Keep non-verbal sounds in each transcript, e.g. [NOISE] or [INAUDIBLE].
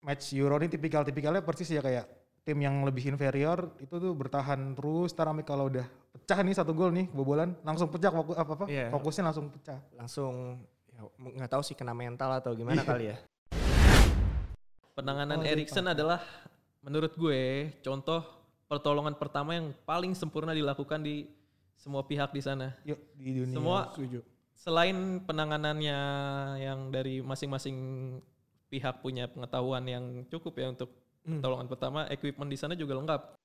match Euro ini tipikal-tipikalnya persis ya kayak tim yang lebih inferior itu tuh bertahan terus tarami kalau udah pecah nih satu gol nih kebobolan langsung pecah fokus apa apa Iya. fokusnya langsung pecah langsung ya, m- nggak tahu sih kena mental atau gimana kali ya Iya. gitu. Penanganan Oh, iya, Erikson adalah menurut gue contoh pertolongan pertama yang paling sempurna dilakukan di semua pihak di sana. yuk di dunia Semua- setuju Selain penanganannya yang dari masing-masing pihak punya pengetahuan yang cukup ya untuk Hmm. pertolongan pertama, equipment di sana juga lengkap.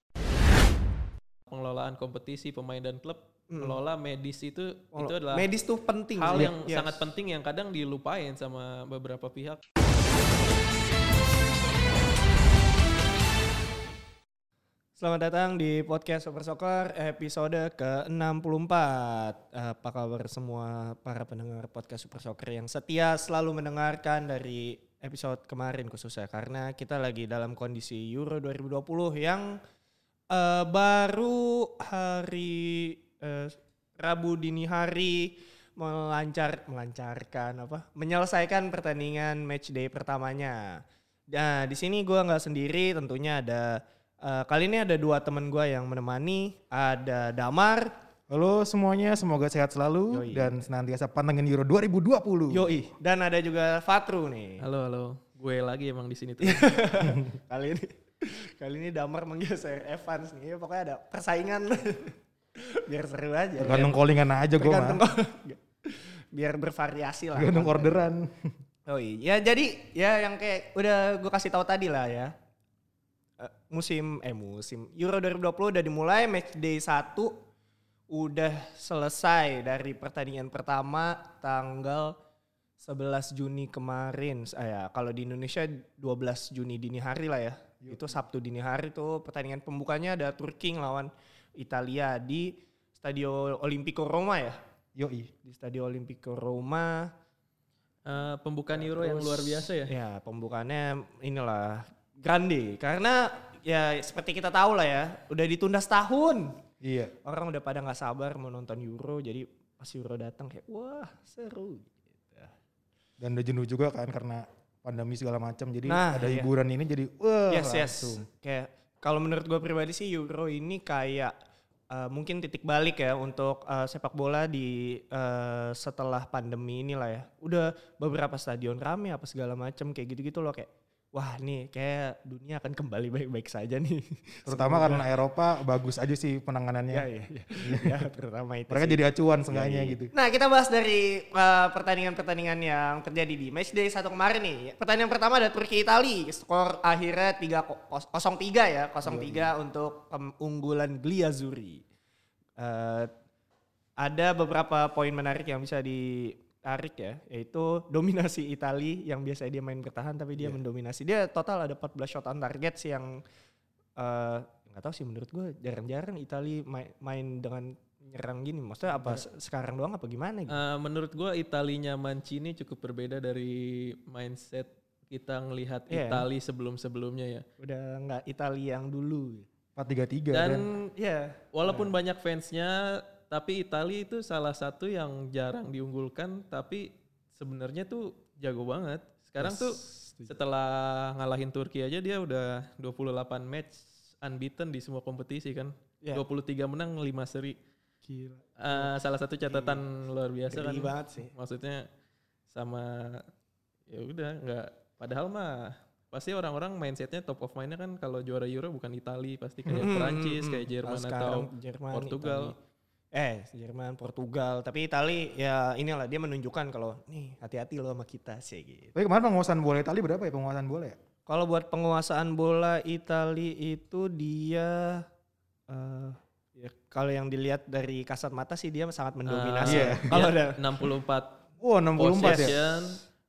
Pengelolaan kompetisi pemain dan klub, mengelola medis itu itu Hmm. Kalau- adalah medis tuh penting sih. hal Iya. yang Yes. sangat penting yang kadang dilupain sama beberapa pihak. Selamat datang di podcast Super Soccer episode ke-64. Eh, Apa kabar semua para pendengar podcast Super Soccer yang setia selalu mendengarkan dari episode kemarin khususnya karena kita lagi dalam kondisi Euro 2020 yang eh, baru hari eh, Rabu dini hari melancar melancarkan apa? menyelesaikan pertandingan match day pertamanya. Nah, di sini gua nggak sendiri tentunya ada Eh, kali ini ada dua teman gue yang menemani, ada Damar, halo semuanya semoga sehat selalu Yoi. dan senantiasa pantengin Euro 2020 Yoi, dan ada juga Fatru nih. [LAUGHS] Halo halo, gue lagi emang di sini tuh. Iya. kali ini kali ini Damar menggeser Evans nih, Ya, pokoknya ada persaingan [LAUGHS] biar seru aja. tergantung callingan aja gue Tergantung mah kok. [LAUGHS] biar bervariasi lah. tergantung orderan [LAUGHS] Yoi, ya jadi ya yang kayak udah gue kasih tahu tadi lah ya. Eh, musim eh musim Euro 2020 udah dimulai match day 1 udah selesai dari pertandingan pertama tanggal 11 Juni kemarin. Ah, ya, kalau di Indonesia 12 Juni dini hari lah ya. Iya. Itu Sabtu dini hari tuh pertandingan pembukanya ada Turki lawan Italia di Stadio Olimpico Roma ya. yoi Di Stadio Olimpico Roma. Eh, pembukaan Euro yang Terus, luar biasa ya. Ya pembukaannya inilah grande karena ya seperti kita tahu lah ya udah ditunda setahun iya orang udah pada nggak sabar mau nonton Euro jadi pas Euro datang kayak wah seru. dan udah jenuh juga kan karena pandemi segala macam jadi Nah, ada iya. hiburan ini jadi wah yes yes. langsung. Kayak kalau menurut gue pribadi sih Euro ini kayak eh, mungkin titik balik ya untuk eh, sepak bola di eh, setelah pandemi inilah ya. Udah beberapa stadion rame apa segala macam kayak gitu-gitu loh kayak wah nih kayak dunia akan kembali baik-baik saja nih. [LAUGHS] terutama karena Eropa bagus aja sih penanganannya ya ya ya, ya terutama itu mereka sih. jadi acuan seenggaknya gitu Nah kita bahas dari uh, pertandingan-pertandingan yang terjadi di matchday satu kemarin nih. Pertandingan pertama ada Turki Itali, skor akhirnya 3-0-3 ya, 0-3 untuk um, unggulan Gliazuri. Uh, ada beberapa poin menarik yang bisa ditarik ya, yaitu dominasi Itali yang biasanya dia main bertahan tapi dia Iya. mendominasi. Dia total ada 14 shot on target sih yang eh, nggak tahu sih menurut gue jarang-jarang Itali main, main dengan nyerang gini. Maksudnya Iya. apa se- sekarang doang apa gimana gitu? Eh, menurut gue Italinya Mancini cukup berbeda dari mindset kita ngelihat Iya. Itali sebelum-sebelumnya ya. Udah nggak Itali yang dulu. gitu. empat tiga tiga Dan Ya. walaupun banyak fansnya, tapi Itali itu salah satu yang jarang diunggulkan, tapi sebenarnya tuh jago banget. Sekarang tuh setelah ngalahin Turki aja dia udah 28 match unbeaten di semua kompetisi kan. Iya. 23 menang, 5 seri. Gila. Eh, salah satu catatan luar biasa Geli kan. banget sih. maksudnya sama ya udah nggak padahal mah pasti orang-orang mindsetnya top of mindnya kan kalau juara Euro bukan Itali pasti kayak Mm, Perancis mm, kayak mm. Jerman Kalau atau sekarang Jerman, Portugal. Itali. Eh, Jerman, Portugal. Tapi Itali ya inilah dia menunjukkan kalau nih hati-hati lo sama kita sih gitu. tapi kemarin penguasaan bola Itali berapa ya penguasaan bola ya Kalau buat penguasaan bola Itali itu dia eh ya kalau yang dilihat dari kasat mata sih dia sangat ah, mendominasi. iya. ya. Kalau ada dia 64 wah enam puluh empat ya possession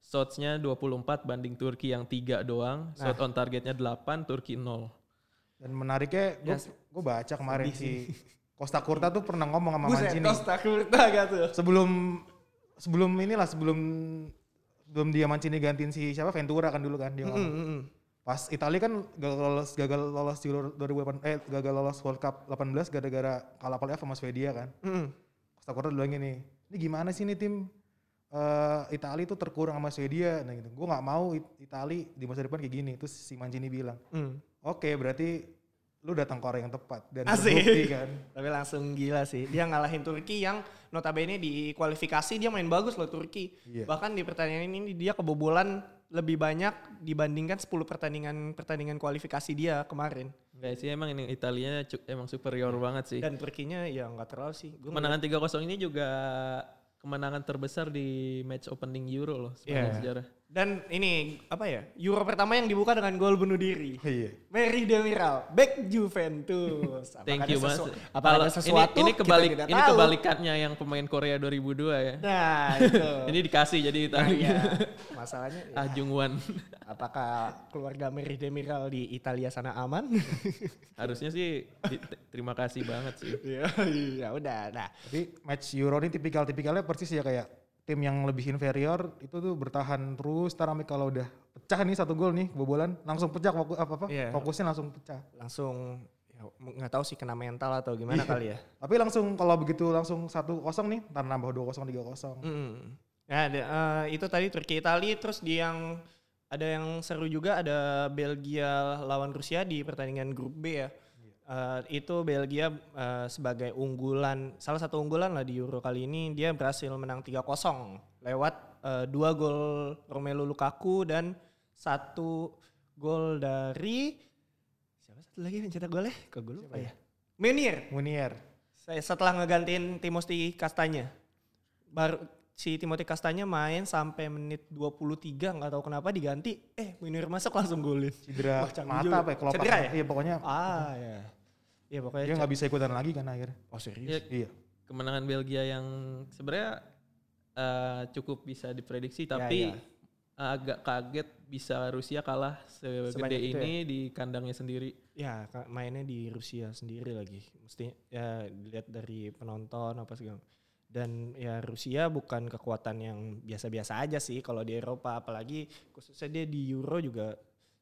shotsnya 24 banding Turki yang 3 doang shot on targetnya 8 Turki 0 dan menariknya gue baca kemarin si [LAUGHS] Costa Curta tuh pernah ngomong sama Buset, Mancini Costa Curta gak tuh. sebelum sebelum inilah sebelum sebelum dia Mancini gantiin si siapa Ventura kan dulu kan dia ngomong. Mm, mm. Pas Italia kan gagal lolos gagal lolos di 2008 eh gagal lolos World Cup 18 gara-gara kalah playoff sama Swedia kan. Mm. Costa Curta bilang gini, ini gimana sih ini tim? eh Itali itu terkurang sama Swedia nah gitu. Gue nggak mau It- Itali di masa depan kayak gini. Terus si Mancini bilang, Hmm. "Oke, berarti lu datang ke orang yang tepat." Dan Asik. terbukti kan. [LAUGHS] Tapi langsung gila sih. Dia ngalahin Turki yang notabene di kualifikasi dia main bagus loh Turki. Iya. Bahkan di pertandingan ini dia kebobolan lebih banyak dibandingkan 10 pertandingan pertandingan kualifikasi dia kemarin. Enggak sih emang ini Italinya cu- emang superior banget sih. Dan Turkinya ya nggak terlalu sih. Gua Kemenangan 3-0 ini juga kemenangan terbesar di match opening Euro loh sepanjang Iya. sejarah. Dan ini apa ya? Euro pertama yang dibuka dengan gol bunuh diri. Iya. Mary Demiral, back Juventus. Apakah Thank you ada banget. sesu- sih. Apa ada Kalau sesuatu? ini, ini kita kebalik tidak ini tahu. kebalikannya yang pemain Korea 2002 ya. Nah, itu. [LAUGHS] Ini dikasih jadi Nah, Italia. ya. Masalahnya ya, Ah Jung Wan. apakah keluarga Mary Demiral di Italia sana aman? [LAUGHS] [LAUGHS] Harusnya sih di- te- terima kasih banget sih. ya, ya udah. Nah, Tapi match Euro ini tipikal-tipikalnya persis ya kayak tim yang lebih inferior itu tuh bertahan terus. Tarami kalau udah pecah nih satu gol nih kebobolan, langsung pecah fokus apa apa? Iya. Fokusnya langsung pecah. langsung ya, nggak tahu sih kena mental atau gimana kali ya. Tapi langsung kalau begitu langsung 1-0 nih, ntar nambah 2-0, 3-0. Mm. Nah, ada- eh, itu tadi Turki Itali terus di yang ada yang seru juga ada Belgia lawan Rusia di pertandingan grup B ya. Eh, itu Belgia eh, sebagai unggulan salah satu unggulan lah di Euro kali ini dia berhasil menang 3-0 lewat eh, dua gol Romelu Lukaku dan satu gol dari siapa satu lagi yang cetak golnya? Kok gue lupa ya? Menir. Munier. Saya setelah ngegantiin Timothy Kastanya. Baru si Timothy Kastanya main sampai menit 23 nggak tahu kenapa diganti. Eh, Munir masuk langsung golin. Cedera Wah, canggih juga. mata apa ya? Kelopak. Cedera ya? Iya pokoknya Ah, ya. Iya pokoknya. dia nggak bisa ikutan lagi kan akhirnya. Oh, serius. Ya, Iya. kemenangan Belgia yang sebenarnya eh, cukup bisa diprediksi Ya, tapi ya. agak kaget bisa Rusia kalah segede Sebanyak itu ini di kandangnya sendiri. Ya, ka- mainnya di Rusia sendiri lagi. Mestinya ya dilihat dari penonton apa segala. Dan ya Rusia bukan kekuatan yang biasa-biasa aja sih kalau di Eropa, apalagi khususnya dia di Euro juga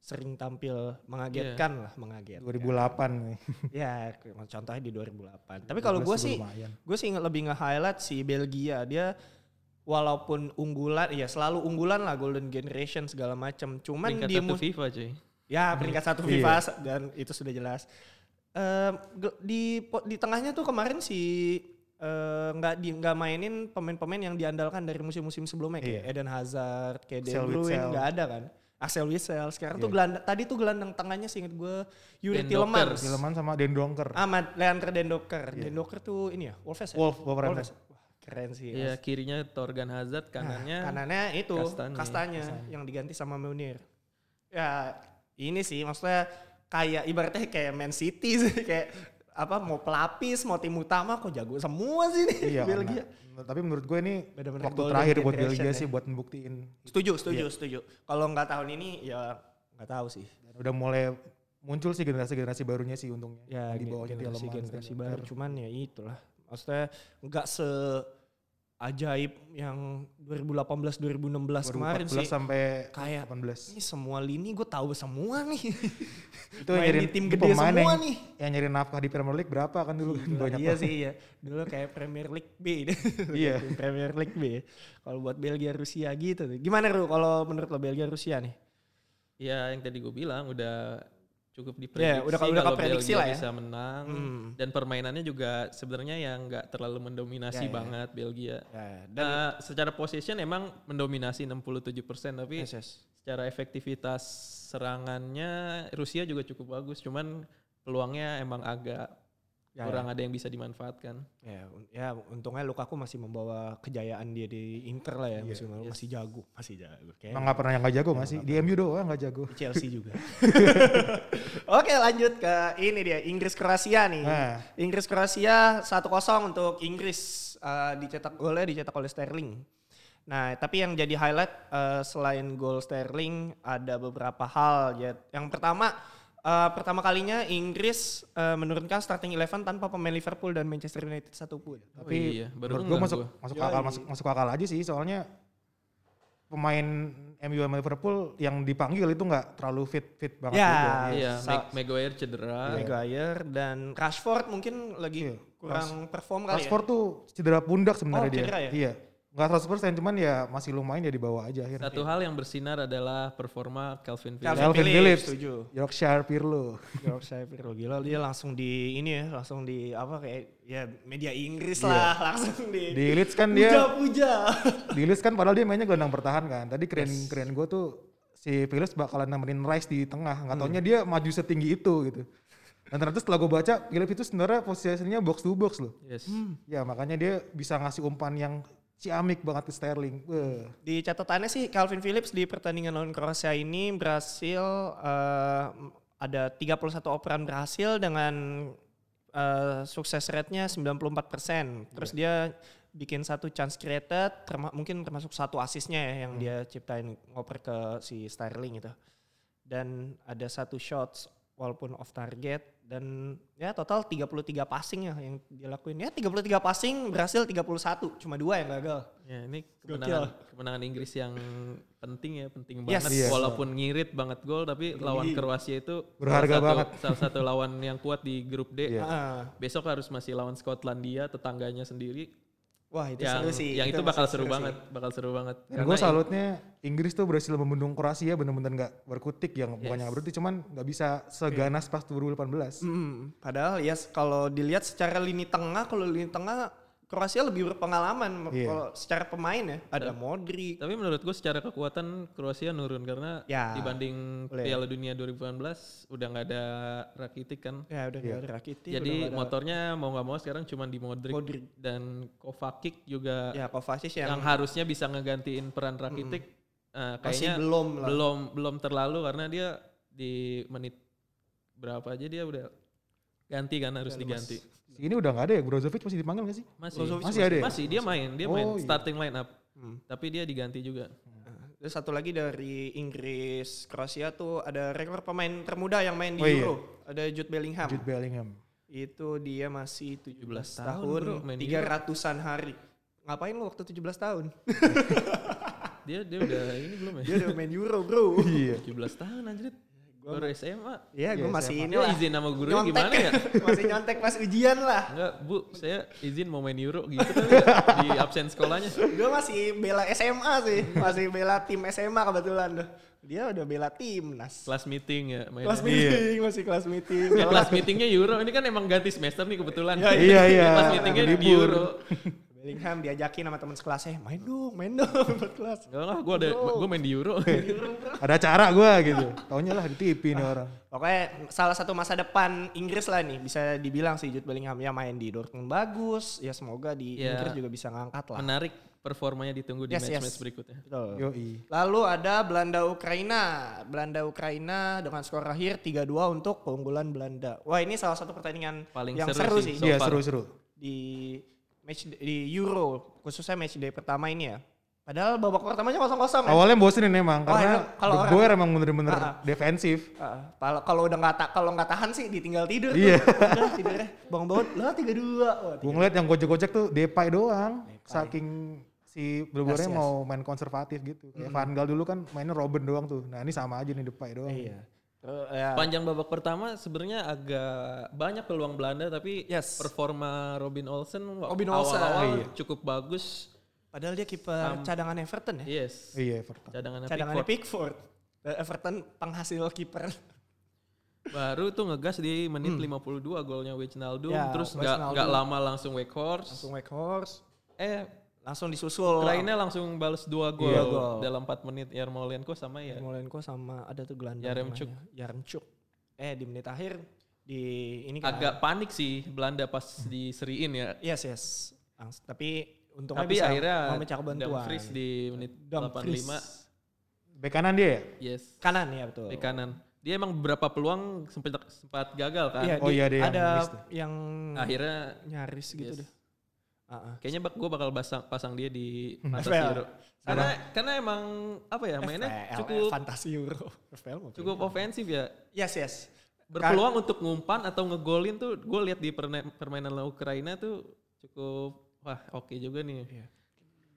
sering tampil mengagetkan lah, mengagetkan. 2008 nih. ya ke- contohnya di 2008 tapi kalau gue 12 sih lumayan. gue sih nge- lebih nge-highlight si Belgia dia walaupun unggulan ya selalu unggulan lah golden generation segala macam cuman Peringkat di satu mus- FIFA cuy. ya peringkat satu Iya. FIFA sa- dan itu sudah jelas Ehm, ge- di po- di tengahnya tuh kemarin si eh, nggak di nggak mainin pemain-pemain yang diandalkan dari musim-musim sebelumnya kayak Iya. Eden Hazard kayak De Axel Bruyne Witsel. nggak ada kan Axel Witsel sekarang tuh gelandang tadi tuh gelandang tangannya seinget gue Yuri Dan Tielemans Docker. Sileman sama Den Donker. Ahmad Leandro Dendoker. Dendoker tuh ini ya, Wolves ya? Iya. Wolf, Wolverhampton. Wolves. Wah, keren sih. Ah, Ya kirinya Torgan Hazard, kanannya Kanannya itu Kastanya. kastanya, yang diganti sama Munir. Ya, ini sih maksudnya kayak ibaratnya kayak Man City sih [LAUGHS] kayak apa mau pelapis, mau tim utama kok jago semua sih nih Iya. [LAUGHS] Belgia. Belgia. Tapi menurut gue ini Bener-bener waktu golden terakhir buat generation Belgia ya. sih buat membuktiin. Setuju, setuju, Iya. setuju. Kalau nggak tahun ini ya nggak tahu sih. Dan udah mulai muncul sih generasi-generasi barunya sih untungnya. ya di bawahnya Tielemans, generasi generasi Den baru Donker. cuman ya itulah maksudnya nggak se ajaib yang 2018 2016 kemarin 2014 sih sampai kayak 18. ini semua lini gue tahu semua [LAUGHS] nih Itu yang Main nyari di tim gede semua yang, nih. Yang nyari nafkah di Premier League berapa kan dulu kan banyak iya banget. sih ya dulu kayak Premier League B [LAUGHS] deh. Iya. Tim Premier League B kalau buat Belgia Rusia gitu tuh. gimana Ru kalau menurut lo Belgia Rusia nih Ya yang tadi gue bilang udah cukup diprediksi. Ya, udah- udah kalau keprediksi Belgia lah ya. Bisa menang Hmm. dan permainannya juga sebenarnya yang nggak terlalu mendominasi Ya, ya. banget Belgia. ya, dan Nah, secara possession emang mendominasi 67% tapi Yes, yes. secara efektivitas serangannya Rusia juga cukup bagus cuman peluangnya emang agak Ya, kurang ada yang bisa dimanfaatkan. Ya, un- ya untungnya Lukaku masih membawa kejayaan dia di Inter lah ya musim lalu. masih jago, masih jago. Kayak Emang gak pernah yang gak jago gak sih? Di MU doang gak jago. Chelsea juga. Oke, lanjut ke ini dia Inggris Kroasia nih. Nah. Inggris Kroasia 1-0 untuk Inggris Eh, dicetak golnya dicetak oleh Sterling. Nah, tapi yang jadi highlight eh, selain gol Sterling ada beberapa hal ya. Yang pertama eh, pertama kalinya Inggris eh, menurunkan starting eleven tanpa pemain Liverpool dan Manchester United satupun. Tapi Oh iya, menurut baru gue dengar masuk, gua. masuk Yoi. akal masuk, masuk akal aja sih soalnya pemain MU sama Liverpool yang dipanggil itu nggak terlalu fit fit banget juga. Ya, Iya, sa- Mag- Maguire cedera. Maguire dan Rashford mungkin Iya, lagi kurang perform kali Rashford tuh cedera pundak ya. Oh, sebenarnya dia. cedera ya? Iya. Nggak 100% cuman ya masih lumayan ya di bawah aja akhirnya. Satu hal yang bersinar adalah performa Calvin Phillips. Calvin Phillips. setuju. Yorkshire [LAUGHS] Pirlo. Yorkshire Pirlo gila dia langsung di ini ya, langsung di apa kayak ya media Inggris lah, [LAUGHS] langsung Iya. di, Di Leeds kan dia puja-puja. [LAUGHS] di Leeds kan padahal dia mainnya gelandang bertahan kan. Tadi keren keren gue tuh si Phillips bakalan nemenin Rice di tengah. Hmm. Nggak taunya dia maju setinggi itu gitu. Dan ternyata setelah gue baca Phillips itu sebenarnya posisinya box to box loh. Yes. Hmm. Ya makanya dia bisa ngasih umpan yang ciamik banget ke Sterling. Wah. Di catatannya sih Calvin Phillips di pertandingan lawan Kroasia ini berhasil eh, ada 31 operan berhasil dengan eh, sukses rate-nya 94%. Terus dia bikin satu chance created, terma- mungkin termasuk satu asisnya ya yang dia ciptain ngoper ke si Sterling gitu. Dan ada satu shots walaupun off target dan ya total 33 passing ya yang dia lakuin. Ya 33 passing berhasil 31, cuma dua yang gagal. Ya, ini kemenangan, kemenangan Inggris yang penting ya, penting Yes. banget. Iya. Walaupun ngirit banget gol, tapi lawan Kroasia itu Berharga salah satu, banget. Salah satu lawan yang kuat di grup Iya. D. Ah. Besok harus masih lawan Skotlandia, tetangganya sendiri. Wah itu yang seru sih. yang itu, bakal masih seru, sih. banget, bakal seru banget. Dan gue salutnya Inggris tuh berhasil membendung Kroasia ya, bener-bener nggak berkutik yang bukannya nggak berarti cuman nggak bisa seganas pas 2018. Mm, padahal ya s- kalau dilihat secara lini tengah, kalau lini tengah Kroasia lebih berpengalaman Iya. kalau secara pemain ya. Ada Modric. Tapi menurut gue secara kekuatan Kroasia nurun karena Ya, dibanding boleh. Piala Dunia 2018 udah nggak ada Rakitic kan. Ya udah nggak ada Rakitic. Jadi udah nggak motornya mau nggak mau sekarang cuma di Modric, Modric. dan Kovacic ada- juga ya Kovacic yang, yang harusnya bisa ngegantiin peran Rakitic eh, masih kayaknya belum lah. belum belum terlalu karena dia di menit berapa aja dia udah ganti kan harus diganti. Ini udah nggak ada ya Brozovic masih dipanggil nggak sih? Masih Brozovic masih ada ya? Masih dia main, dia main Oh, iya. starting line up. Hmm. Tapi dia diganti juga. Terus satu lagi dari Inggris Kroasia tuh ada rekor pemain termuda yang main Oh, di iya. Euro. Ada Jude Bellingham. Jude Bellingham. Itu dia masih 17, 17 tahun, tahun, bro, main di 300-an hari. Ngapain lo waktu 17 tahun? Dia dia udah [LAUGHS] ini belum ya? Dia udah main Euro, bro. [LAUGHS] Iya. 17 tahun anjir. Baru SMA. Iya, gue Iya, masih siapa? ini Dia lah. izin sama gurunya gimana ya? [LAUGHS] masih nyontek pas ujian lah. Enggak, Bu, saya izin mau main Euro gitu kan ya, di absen sekolahnya. Gue masih bela SMA sih, masih bela tim SMA kebetulan tuh. Dia udah bela timnas. Kelas meeting ya main. Kelas meeting, masih kelas meeting. Ya, kelas meetingnya Euro. Ini kan emang ganti semester nih kebetulan. iya, iya. kelas meetingnya di Libur. Euro. Bellingham diajakin sama teman sekelasnya, main dong, main dong [LAUGHS] buat kelas. Enggak lah, gue ada, gue main di Euro. Ada cara gue gitu. Taunya lah di TV nih orang. Pokoknya salah satu masa depan Inggris lah nih, bisa dibilang sih Jude Bellingham ya main di Dortmund bagus, ya semoga di Ya. Inggris juga bisa ngangkat lah. Menarik performanya ditunggu di Yes, yes. match-match berikutnya. Betul. Yoi. Lalu ada Belanda Ukraina. Belanda Ukraina dengan skor akhir 3-2 untuk keunggulan Belanda. Wah, ini salah satu pertandingan Paling yang seru, seru sih, sih. Iya far. seru-seru. di match di Euro, khususnya match day pertama ini ya. Padahal babak pertamanya kosong-kosong. ya. Awalnya bosenin emang Wah, karena emang kalau De orang- Boer emang bener-bener Ah, ah. defensif. Ah, pal- kalau udah nggak ta- kalau nggak tahan sih ditinggal tidur tuh. Iya. Udah tidurnya bangun-bangun lah 3-2. Wah, Gue ngeliat yang gojek-gojek tuh Depay doang. Saking si De Boernya Yes, yes. mau main konservatif gitu. Kayak Van Gaal dulu kan mainnya Robin doang tuh. Nah ini sama aja nih Depay doang. Iya. Terus, ya, Panjang babak pertama sebenarnya agak banyak peluang Belanda tapi Yes. performa Robin Olsen wa- Robin Olsen. awal-awal Iya. cukup bagus. padahal dia kiper cadangan Everton ya. Yes. Iya Everton. Cadangan Cadangannya Pickford. Eh, Everton penghasil kiper. Baru tuh ngegas di menit 52 golnya Wijnaldum Hmm. Ya, terus nggak Wijnaldum. nggak lama langsung Weghorst. Langsung Weghorst. Eh langsung disusul Ukraina langsung balas dua gol Iya, gol. dalam 4 menit Yarmolenko sama ya Yarmolenko sama ada tuh gelandang Yaremchuk. namanya, Yaremchuk eh di menit akhir di ini kan agak panik sih Belanda pas Hmm. diseriin ya. yes yes Langs- tapi untungnya Tapi bisa akhirnya memecah bantuan Dumfries di menit Dumfries. 85. Bek kanan dia ya? Yes. kanan ya betul Di kanan. Dia emang beberapa peluang sempat sempat gagal kan. Nah, Iya, Oh di- iya, ada yang ada miss tuh. yang Akhirnya nyaris gitu Ah, iya. Yes. deh Ah, ah. kayaknya bak gue bakal pasang, pasang dia di atas FPL. Euro. Karena karena emang apa ya mainnya FPL, cukup fantasi Euro FPL mau cukup ofensif ya. yes yes Berpeluang untuk ngumpan atau ngegolin tuh gue Iya. lihat di perne- permainan Ukraina tuh cukup wah oke juga nih.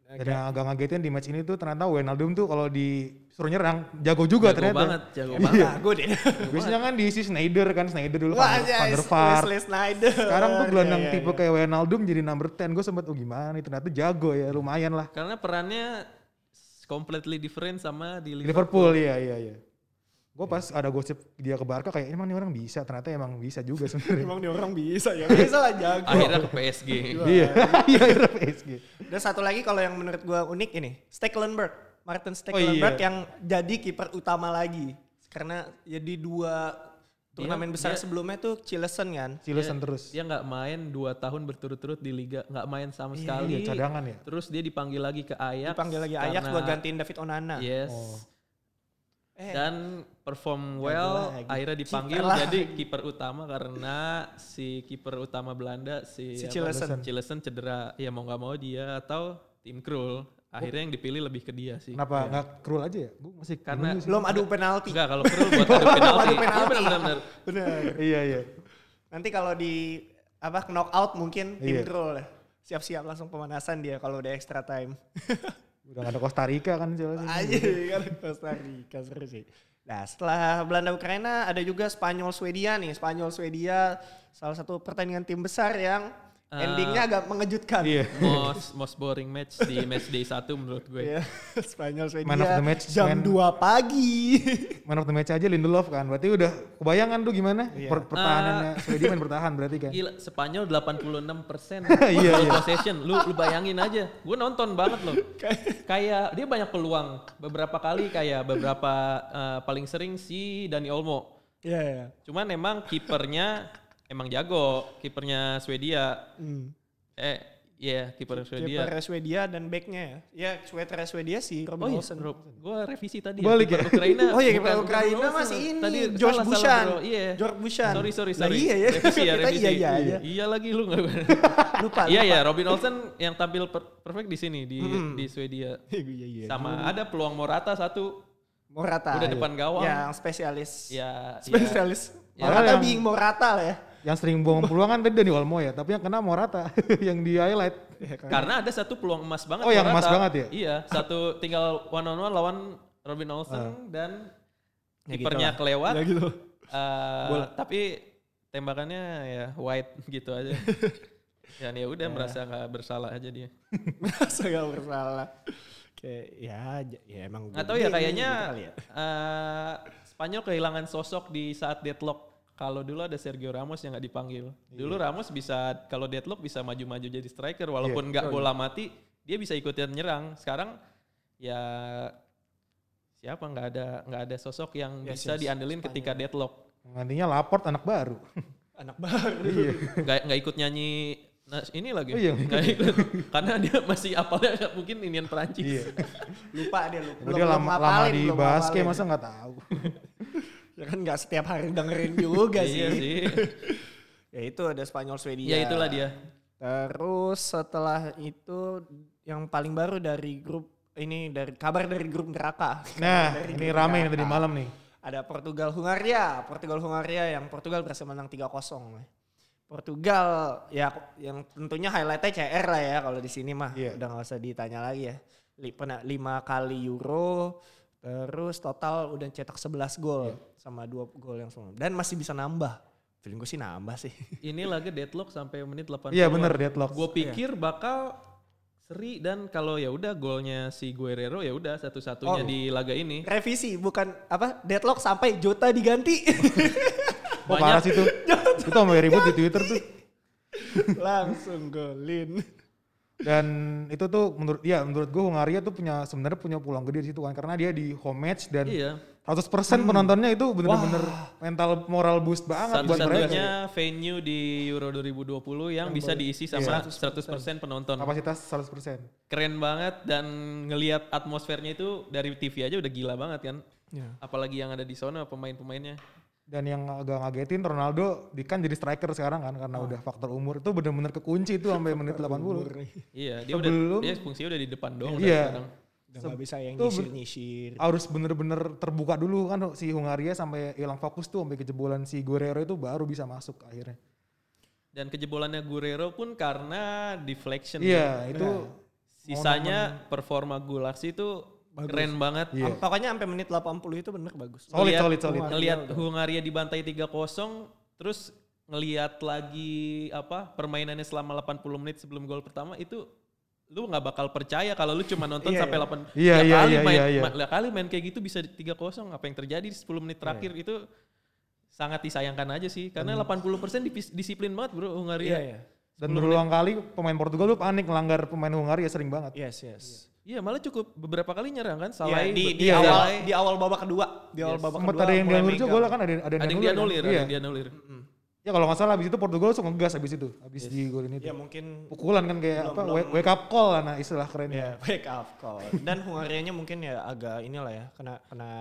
Dan yang agak ngagetin di match ini tuh ternyata Wijnaldum tuh kalau disuruh nyerang jago juga jago ternyata. banget, [LAUGHS] jago Iya. banget. Gue ah, [LAUGHS] deh. Biasanya kan diisi Schneider kan, Schneider dulu Wah, Van der- Van ya, der Vaart. Wesley Snyder. Sekarang tuh Iya, gelandang iya, tipe iya. kayak Wijnaldum jadi number 10. Gue sempet, oh gimana nih ternyata jago ya, lumayan lah. Karena perannya s- completely different sama di Di Liverpool, Liverpool. iya iya iya. Gue pas ada gosip dia ke Barca kayak "Eh, emang nih orang bisa, ternyata emang bisa [LAUGHS] juga sebenarnya. Emang dia orang bisa ya. Bisa lah jago. Akhirnya ke PSG. Iya, [LAUGHS] iya iya, PSG. Dan satu lagi kalau yang menurut gua unik ini, Stekelenburg, Martin Oh Stekelenburg iya. yang jadi kiper utama lagi. Karena jadi dua Iya, turnamen besar sebelumnya tuh Cilesen kan. Silusan terus. Dia nggak main 2 tahun berturut-turut di liga, nggak main sama sekali. Iya, cadangan ya. Terus dia dipanggil lagi ke Ajax. Dipanggil lagi Ajax Iya, karena- buat gantiin David Onana. Yes. Eh. Iya, Dan perform well, lagi. akhirnya dipanggil gitu. Kiper lagi. jadi kiper utama karena si kiper utama Belanda si, Si apa, Cilesen. Cilesen cedera. Ya mau nggak mau dia atau tim Krul. Akhirnya yang dipilih lebih ke dia sih. Kenapa nggak cruel aja ya? Gue masih Karena- bingung sih. Belum adu penalti. Enggak kalau Krul [LAUGHS] buat adu penalti. Adu Iya, penalti. benar-benar. [LAUGHS] Bener. iya iya. Nanti kalau di apa knockout mungkin tim Iya. Krul. Siap-siap langsung pemanasan dia kalau udah extra time. [LAUGHS] Udah nggak ada Costa Rica kan jelas. Aja Iya. kan Costa Rica seru sih. Nah setelah Belanda Ukraina ada juga Spanyol Swedia nih. Spanyol Swedia salah satu pertandingan tim besar yang Eh, endingnya agak mengejutkan. Iya. most most boring match di match day 1 menurut gue. Iya, [LAUGHS] Spanyol Swedia Man of the match, man. jam 2 pagi. [LAUGHS] Man of the match aja Lindelof kan. Berarti udah kebayangan tuh gimana? Iya. Per- pertahanannya Swedia main bertahan berarti kan. Gila, Spanyol 86 persen [LAUGHS] Iya, iya. possession. Lu, lu bayangin aja, gue nonton banget [LAUGHS] loh. kayak dia banyak peluang, beberapa kali kayak beberapa eh, paling sering si Dani Olmo. Iya, iya. Cuman emang kipernya emang jago, kipernya Swedia. Hmm. Eh, iya kiper Swedia. Kiper Swedia dan backnya ya. Ya, sweater Swedia sih Robin Oh iya, Olsen. gue revisi tadi. Balik kiper ya? Ukraina. [LAUGHS] Oh iya, bukan- kiper bukan Ukraina Olsen. masih ini. Tadi George salah, salah, Bushan. bro. Iya. George Bushan. Sorry, sorry, Lah sorry. iya ya. Revisi ya, [LAUGHS] Kita revisi. iya, iya aja. Iya lagi lu nggak [LAUGHS] Lupa, Iya lupa. ya, Robin Olsen yang tampil per- perfect di sini di di Swedia. [LAUGHS] Iya, iya. Sama ada peluang Morata satu. Morata. Iya, Udah depan gawang. Yang spesialis. Ya, ya. Spesialis. Ya. Morata Yang- being Morata lah ya. Yang sering buang peluang kan tadi Dani Olmo ya, tapi yang kena Morata [LAUGHS] yang di highlight. Iya kan. karena ada satu peluang emas banget. Oh, yang emas Morata. banget ya? Iya, [LAUGHS] satu tinggal one on one lawan Robin Ah. Olsen dan kipernya kelewat. Ya gitu. [LAUGHS] Eh, tapi tembakannya ya wide gitu aja. [LAUGHS] Dan ya udah merasa nggak bersalah aja dia. Masa gak bersalah. Kayak ya, j- ya emang. gede Nggak tahu ya nih, kayaknya gitu kali ya. eh, Spanyol kehilangan sosok di saat deadlock. Kalau dulu ada Sergio Ramos yang nggak dipanggil. Dulu Ramos bisa kalau deadlock bisa maju-maju jadi striker walaupun nggak bola mati dia bisa ikutin nyerang. Sekarang ya siapa nggak ada nggak ada sosok yang bisa diandelin ketika deadlock. Nantinya Laport anak [LAUGHS] baru. Anak [LAUGHS] baru. Iya. Nggak nggak ikut nyanyi nah, ini lagi. Oh iya, Nggak ikut karena dia masih apalnya mungkin inian Perancis. Iya. iya. Lupa dia lupa. Udah dia lama, lama ngapalin, di belum basket ngapalin. masa nggak tahu. Ya kan gak setiap hari dengerin juga [LAUGHS] Iya sih. Iya. sih. Ya itu ada Spanyol Swedia. Ya itulah dia. Terus setelah itu yang paling baru dari grup ini dari kabar dari grup neraka. [LAUGHS] Nah, Dari ini grup rame nih neraka. tadi malam nih. Ada Portugal Hungaria, Portugal Hungaria yang Portugal berhasil menang 3-0. Portugal ya yang tentunya highlightnya CR lah ya kalau di sini mah Iya. udah nggak usah ditanya lagi ya. Li- Pernah lima kali Euro terus total udah cetak 11 gol sama dua gol yang sebelum dan masih bisa nambah. Feeling gue sih nambah sih. [LAUGHS] Ini laga deadlock sampai menit 80. Iya bener deadlock. Gue pikir bakal seri dan kalau ya udah golnya si Guerrero ya udah Oh. satu-satunya di laga ini. revisi bukan apa deadlock sampai Jota diganti [LAUGHS] Oh parah [LAUGHS] sih itu. Itu sampai ribut di Twitter tuh. langsung golin Dan itu tuh menurut ya menurut gue Hungaria tuh punya sebenarnya punya peluang gede di situ kan karena dia di home match dan Iya. 100% penontonnya itu bener-bener mental moral boost banget buat mereka. Satu-satunya venue di Euro 2020 yang bisa Iya. diisi sama 100% penonton. Kapasitas 100%. Keren banget dan ngelihat atmosfernya itu dari TV aja udah gila banget kan. Iya. Apalagi yang ada di sana pemain-pemainnya. Dan yang agak ngagetin Ronaldo di- kan jadi striker sekarang kan karena udah faktor umur itu bener-bener kekunci itu sampai menit 80. Iya, dia udah Sebelum- dia fungsinya udah di depan doang dari Iya. sekarang. udah nggak bisa yang nyisir nyisir Harus bener-bener terbuka dulu kan si Hungaria sampai hilang fokus tuh sampai kejebolan si Guerrero itu baru bisa masuk akhirnya. Dan kejebolannya Guerrero pun karena deflection. Iya, itu Sisanya performa Gulaksi itu keren banget. Iya. Am- Pokoknya sampai menit 80 itu bener bagus. Solid, Ngeliat- solid, Iya, solid. Ngeliat Hungaria dibantai 3-0, terus ngeliat lagi apa permainannya selama 80 menit sebelum gol pertama itu lu nggak bakal percaya kalau lu cuma nonton Iya, sampai iya. 8 Iya, tiap iya, kali iya, main iya, iya. ma- tiap kali main kayak gitu bisa 3-0 apa yang terjadi di 10 menit terakhir iya. itu sangat disayangkan aja sih karena 80% dipis- disiplin banget bro Hungaria. Iya, iya. Dan berulang kali pemain Portugal lu panik melanggar pemain Hungaria ya sering banget. Yes, yes. Iya, malah cukup beberapa kali nyerang kan Iya, salah di, di Iya, iya. awal di awal babak kedua, di awal babak Sempat kedua. ada yang mulai dianulir juga megang. gol kan ada ada ada yang dianulir, kan? ada Iya. yang dianulir. Ya kalau nggak salah habis itu Portugal langsung ngegas habis itu. Habis di golin itu. Ya Iya. mungkin Pukulan kan kayak apa wake- wake up call lah nah istilah kerennya. ya [LAUGHS] wake up call. Dan Hungarianya mungkin ya agak inilah ya, kena kena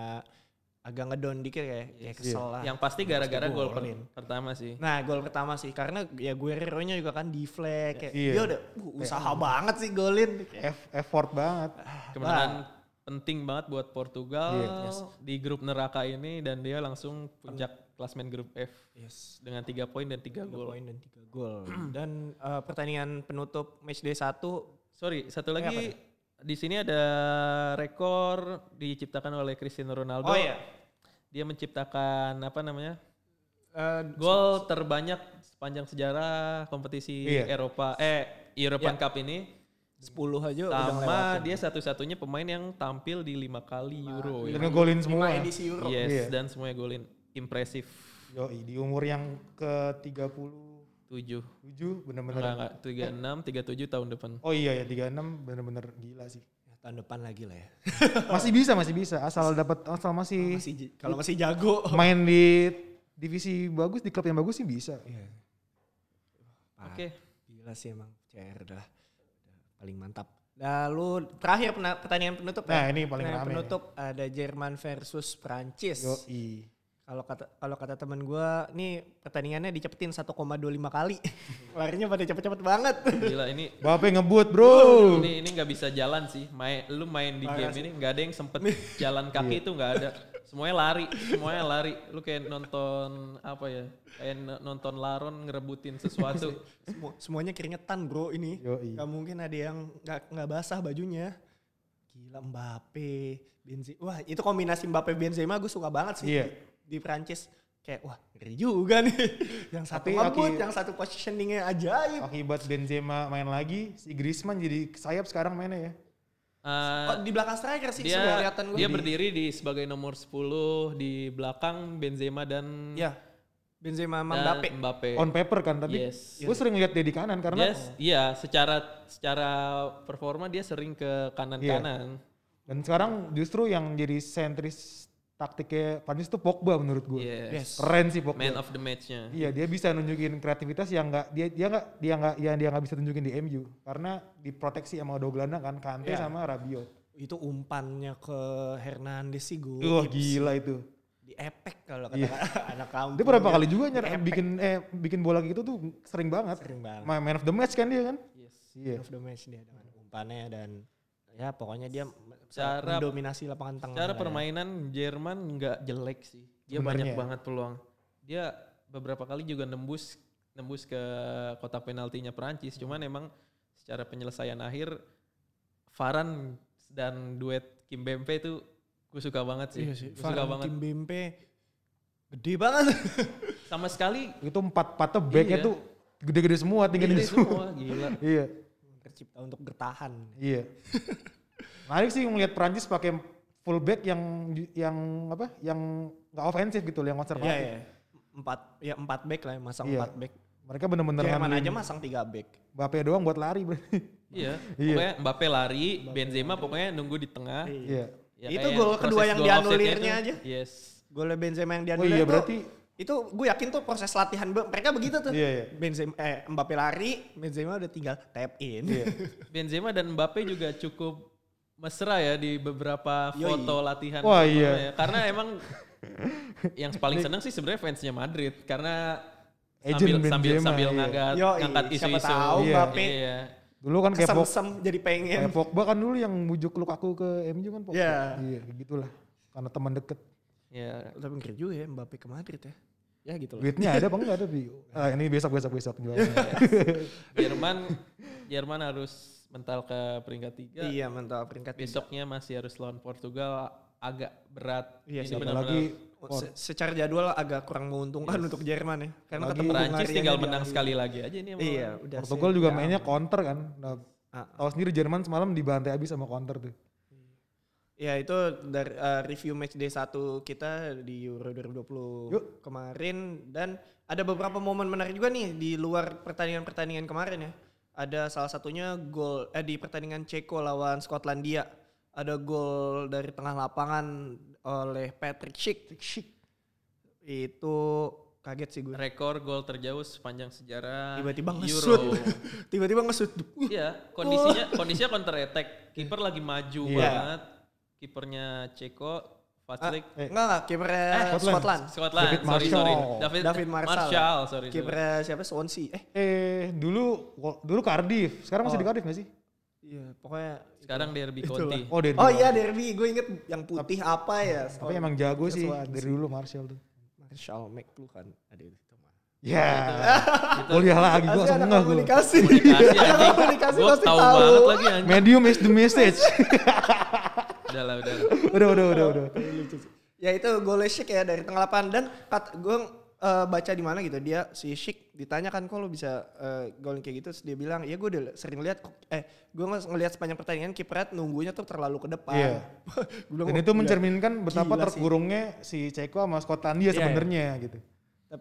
agak ngedown dikit kayak ya kesel lah. Yang pasti gara-gara gol per- golin. pertama sih. Nah gol pertama sih karena ya Guerrero-nya juga kan deflect kayak Iya. dia udah uh, usaha banget sih golin. Iya. Kayak, Eff- effort banget. kemenangan penting banget buat Portugal Iya. di grup neraka ini dan dia langsung puncak klasmen grup F Yes. dengan tiga poin dan tiga Tiga gol. poin dan tiga gol. [CLEARS THROAT] dan eh, pertandingan penutup matchday 1 Sorry, satu lagi di sini ada rekor diciptakan oleh Cristiano Ronaldo. Oh iya. Dia menciptakan apa namanya? eh, Gol terbanyak sepanjang sejarah kompetisi Iya. Eropa eh European Cup ini 10 aja udah sama dia satu-satunya pemain yang tampil di lima kali Euro. ya. Dan ngegolin semua. edisi Euro. Yes, Iya. dan semuanya golin impresif Yoi, di umur yang ke 37 tujuh bener-bener. Enggak, enggak. 36, 37 tahun depan. Oh iya ya 36 bener-bener gila sih. Ya, tahun depan lagi lah ya. Masih bisa, masih bisa. Asal dapat asal Oh, masih Masih j- kalau masih jago. main di divisi bagus di klub yang bagus sih bisa. Iya. Ah, Oke. Gila sih emang CR adalah paling mantap. Lalu terakhir pena- pertandingan penutup Nah, ini paling Pertandingan rame. penutup ada Jerman versus Prancis. Yoi. Kalau kata kalau kata temen gue, nih pertandingannya dicepetin 1,25 kali. Larinya pada cepet-cepet banget. Gila ini Bape ngebut, Oh, Bro. ini ini nggak bisa jalan sih. Main lu main di game ini nggak ada yang sempet jalan Iya. kaki itu nggak ada. Semuanya lari, semuanya lari. Lu kayak nonton apa ya? Kayak n- nonton laron ngerebutin [LAUGHS] sesuatu. Semua, semuanya keringetan bro ini. Yoi. Gak mungkin ada yang gak, nggak basah bajunya. Gila Mbappe, Benzema. Wah itu kombinasi Mbappe Benzema gue suka banget sih. Iya. Di, di Prancis kayak wah ngeri juga nih. [LAUGHS] yang Tapi satu ngebut, aki- yang satu positioningnya ajaib. Akibat Benzema main lagi, si Griezmann jadi sayap sekarang mainnya ya. Eh, Oh, di belakang striker sih dia semua kelihatan gue. dia berdiri di sebagai nomor 10 di belakang Benzema dan Iya. Ya. Benzema sama dan Mbappe. Oh, Mbappe. On paper kan tadi. Yes. Gue sering lihat dia di kanan karena Yes, iya, secara secara performa dia sering ke kanan-kanan. dan sekarang justru yang jadi sentris taktiknya Panis tuh Pogba menurut gue. Iya. Yes. Keren sih Pogba. Man of the match-nya. Iya, dia bisa nunjukin kreativitas yang enggak dia dia enggak dia enggak yang dia enggak bisa tunjukin di MU karena diproteksi sama dua gelandang kan Kante Iya. sama Rabiot. Itu umpannya ke Hernandez sih gue. Wah, gila itu. Di epek kalau kata [LAUGHS] anak kampung. Dia berapa kali juga nyerang bikin eh bikin bola gitu tuh sering banget. Sering banget. Ma- Man of the match kan dia kan? Yes. Iya. Man of the match dia dengan umpannya dan ya pokoknya dia Secara- dominasi lapangan tengah. Cara lah ya. permainan Jerman nggak jelek sih. Dia banyak Sebenarnya. banget peluang. Dia beberapa kali juga nembus nembus ke kotak penaltinya Perancis. Cuman Hmm. emang secara penyelesaian akhir Varan dan duet Kim Bempe itu gue suka banget sih. Iya sih. Gua suka Varane, banget. Kim Bempe gede banget. [LAUGHS] Sama sekali Itu empat patah backnya Iya. tuh gede-gede semua tingginya ini semua. semua gila. iya. Tercipta untuk bertahan. Iya. Menarik sih ngelihat Prancis pakai fullback yang yang apa? Yang enggak ofensif gitu, yang Ya, konservatif. ya. Empat ya empat back lah ya, masang Iya. empat back. Mereka bener-bener Jerman ngandelin Iya, aja masang tiga back. Mbappe doang buat lari berarti. Iya. [LAUGHS] Iya. Pokoknya Mbappe lari, Benzema pokoknya nunggu di tengah. Iya. Ya, Itu kayak gol proses kedua yang gol offsetnya dianulirnya itu. aja. Yes. Gol Benzema yang Oh dianulir iya tuh, berarti itu gue yakin tuh proses latihan be- mereka begitu tuh. Iya, iya. Benzema eh Mbappe lari, Benzema udah tinggal tap in. Iya. Benzema dan Mbappe juga cukup mesra ya di beberapa Yoi. foto latihan. Wah, sebelumnya iya. ya. Karena [LAUGHS] emang yang paling seneng sih sebenarnya fansnya Madrid karena sambil Agent sambil Benzema, sambil iya. ngangkat Yoi, ngangkat siapa isu-isu. tahu Iya. Mbappe Iya. dulu kan kayak Pog- [LAUGHS] kesem-sem jadi pengen. kayak Pogba kan dulu yang bujuk Lukaku ke MU kan Pogba. Iya. Iya, gitulah. Karena teman deket. Iya. Tapi mikir juga ya Mbappe ke Madrid ya. Ya gitu Ah, lah. Iya. Duitnya ada apa enggak tapi eh, ini besok besok besok jualnya. Jerman Jerman harus mental ke peringkat tiga. Iya mental peringkat tiga. Besoknya masih harus lawan Portugal agak berat. Iya Ini sih, benar-benar- Apalagi Oh, Se- secara jadwal agak kurang menguntungkan untuk Jerman ya. Karena Lagi- ketemu Perancis Hungaria tinggal di- menang sekali lagi aja ini. sama Iya, udah Portugal sih. juga Ya, mainnya counter kan. Nah, Ah. tahu sendiri Jerman semalam dibantai abis sama counter tuh. Ya itu dari eh, review match day 1 kita di Euro 2020 Yuk. kemarin dan ada beberapa momen menarik juga nih di luar pertandingan-pertandingan kemarin ya. Ada salah satunya gol eh di pertandingan Ceko lawan Skotlandia. Ada gol dari tengah lapangan oleh Patrick Schick. Itu kaget sih gue. Rekor gol terjauh sepanjang sejarah Tiba-tiba [LAUGHS] ngesut. Euro. Tiba-tiba ngesut. Wih, Iya, kondisinya kondisinya counter attack. Kiper lagi maju Iya. banget. Kipernya Ceko, Fazlik, Eh, Enggak enggak kipernya Scotland. Scotland. Scotland. Ah. David sorry, sorry. Martial. David, David Martial. Martial, sorry. sorry. Kipernya siapa? Swansea. Eh, Eh dulu dulu Cardiff, sekarang masih di Cardiff nggak sih? iya pokoknya Sekarang Derby County. Oh, Derby. Oh iya derby, gue inget yang putih apa ya? Tapi emang jago sih Swansea. dari dulu Martial tuh. Marshall McLuhan ada itu mah. Iya. [LAUGHS] Ya. Kuliah lagi gua langsung ngeh gua. komunikasi. iya. Komunikasi Ada anjing. komunikasi Gua pasti tahu tahu. banget lagi anjing. Medium is the [LAUGHS] message. Udah lah, Ya, udah. lah. udah, udah, udah, udah. Ya itu golnya Sheik ya dari tengah lapangan dan kat, gue eh, baca di mana gitu dia si Sheik ditanyakan kok lo bisa eh, golin kayak gitu terus dia bilang ya gue udah sering lihat kok- eh gue nge- ngelihat sepanjang pertandingan kipernya nunggunya tuh terlalu ke depan. Iya. [LAUGHS] Gua bilang, Dan "Wah, itu gila." mencerminkan betapa Gila sih. terkurungnya si Ceko sama Skotlandia Iya, sebenarnya gitu.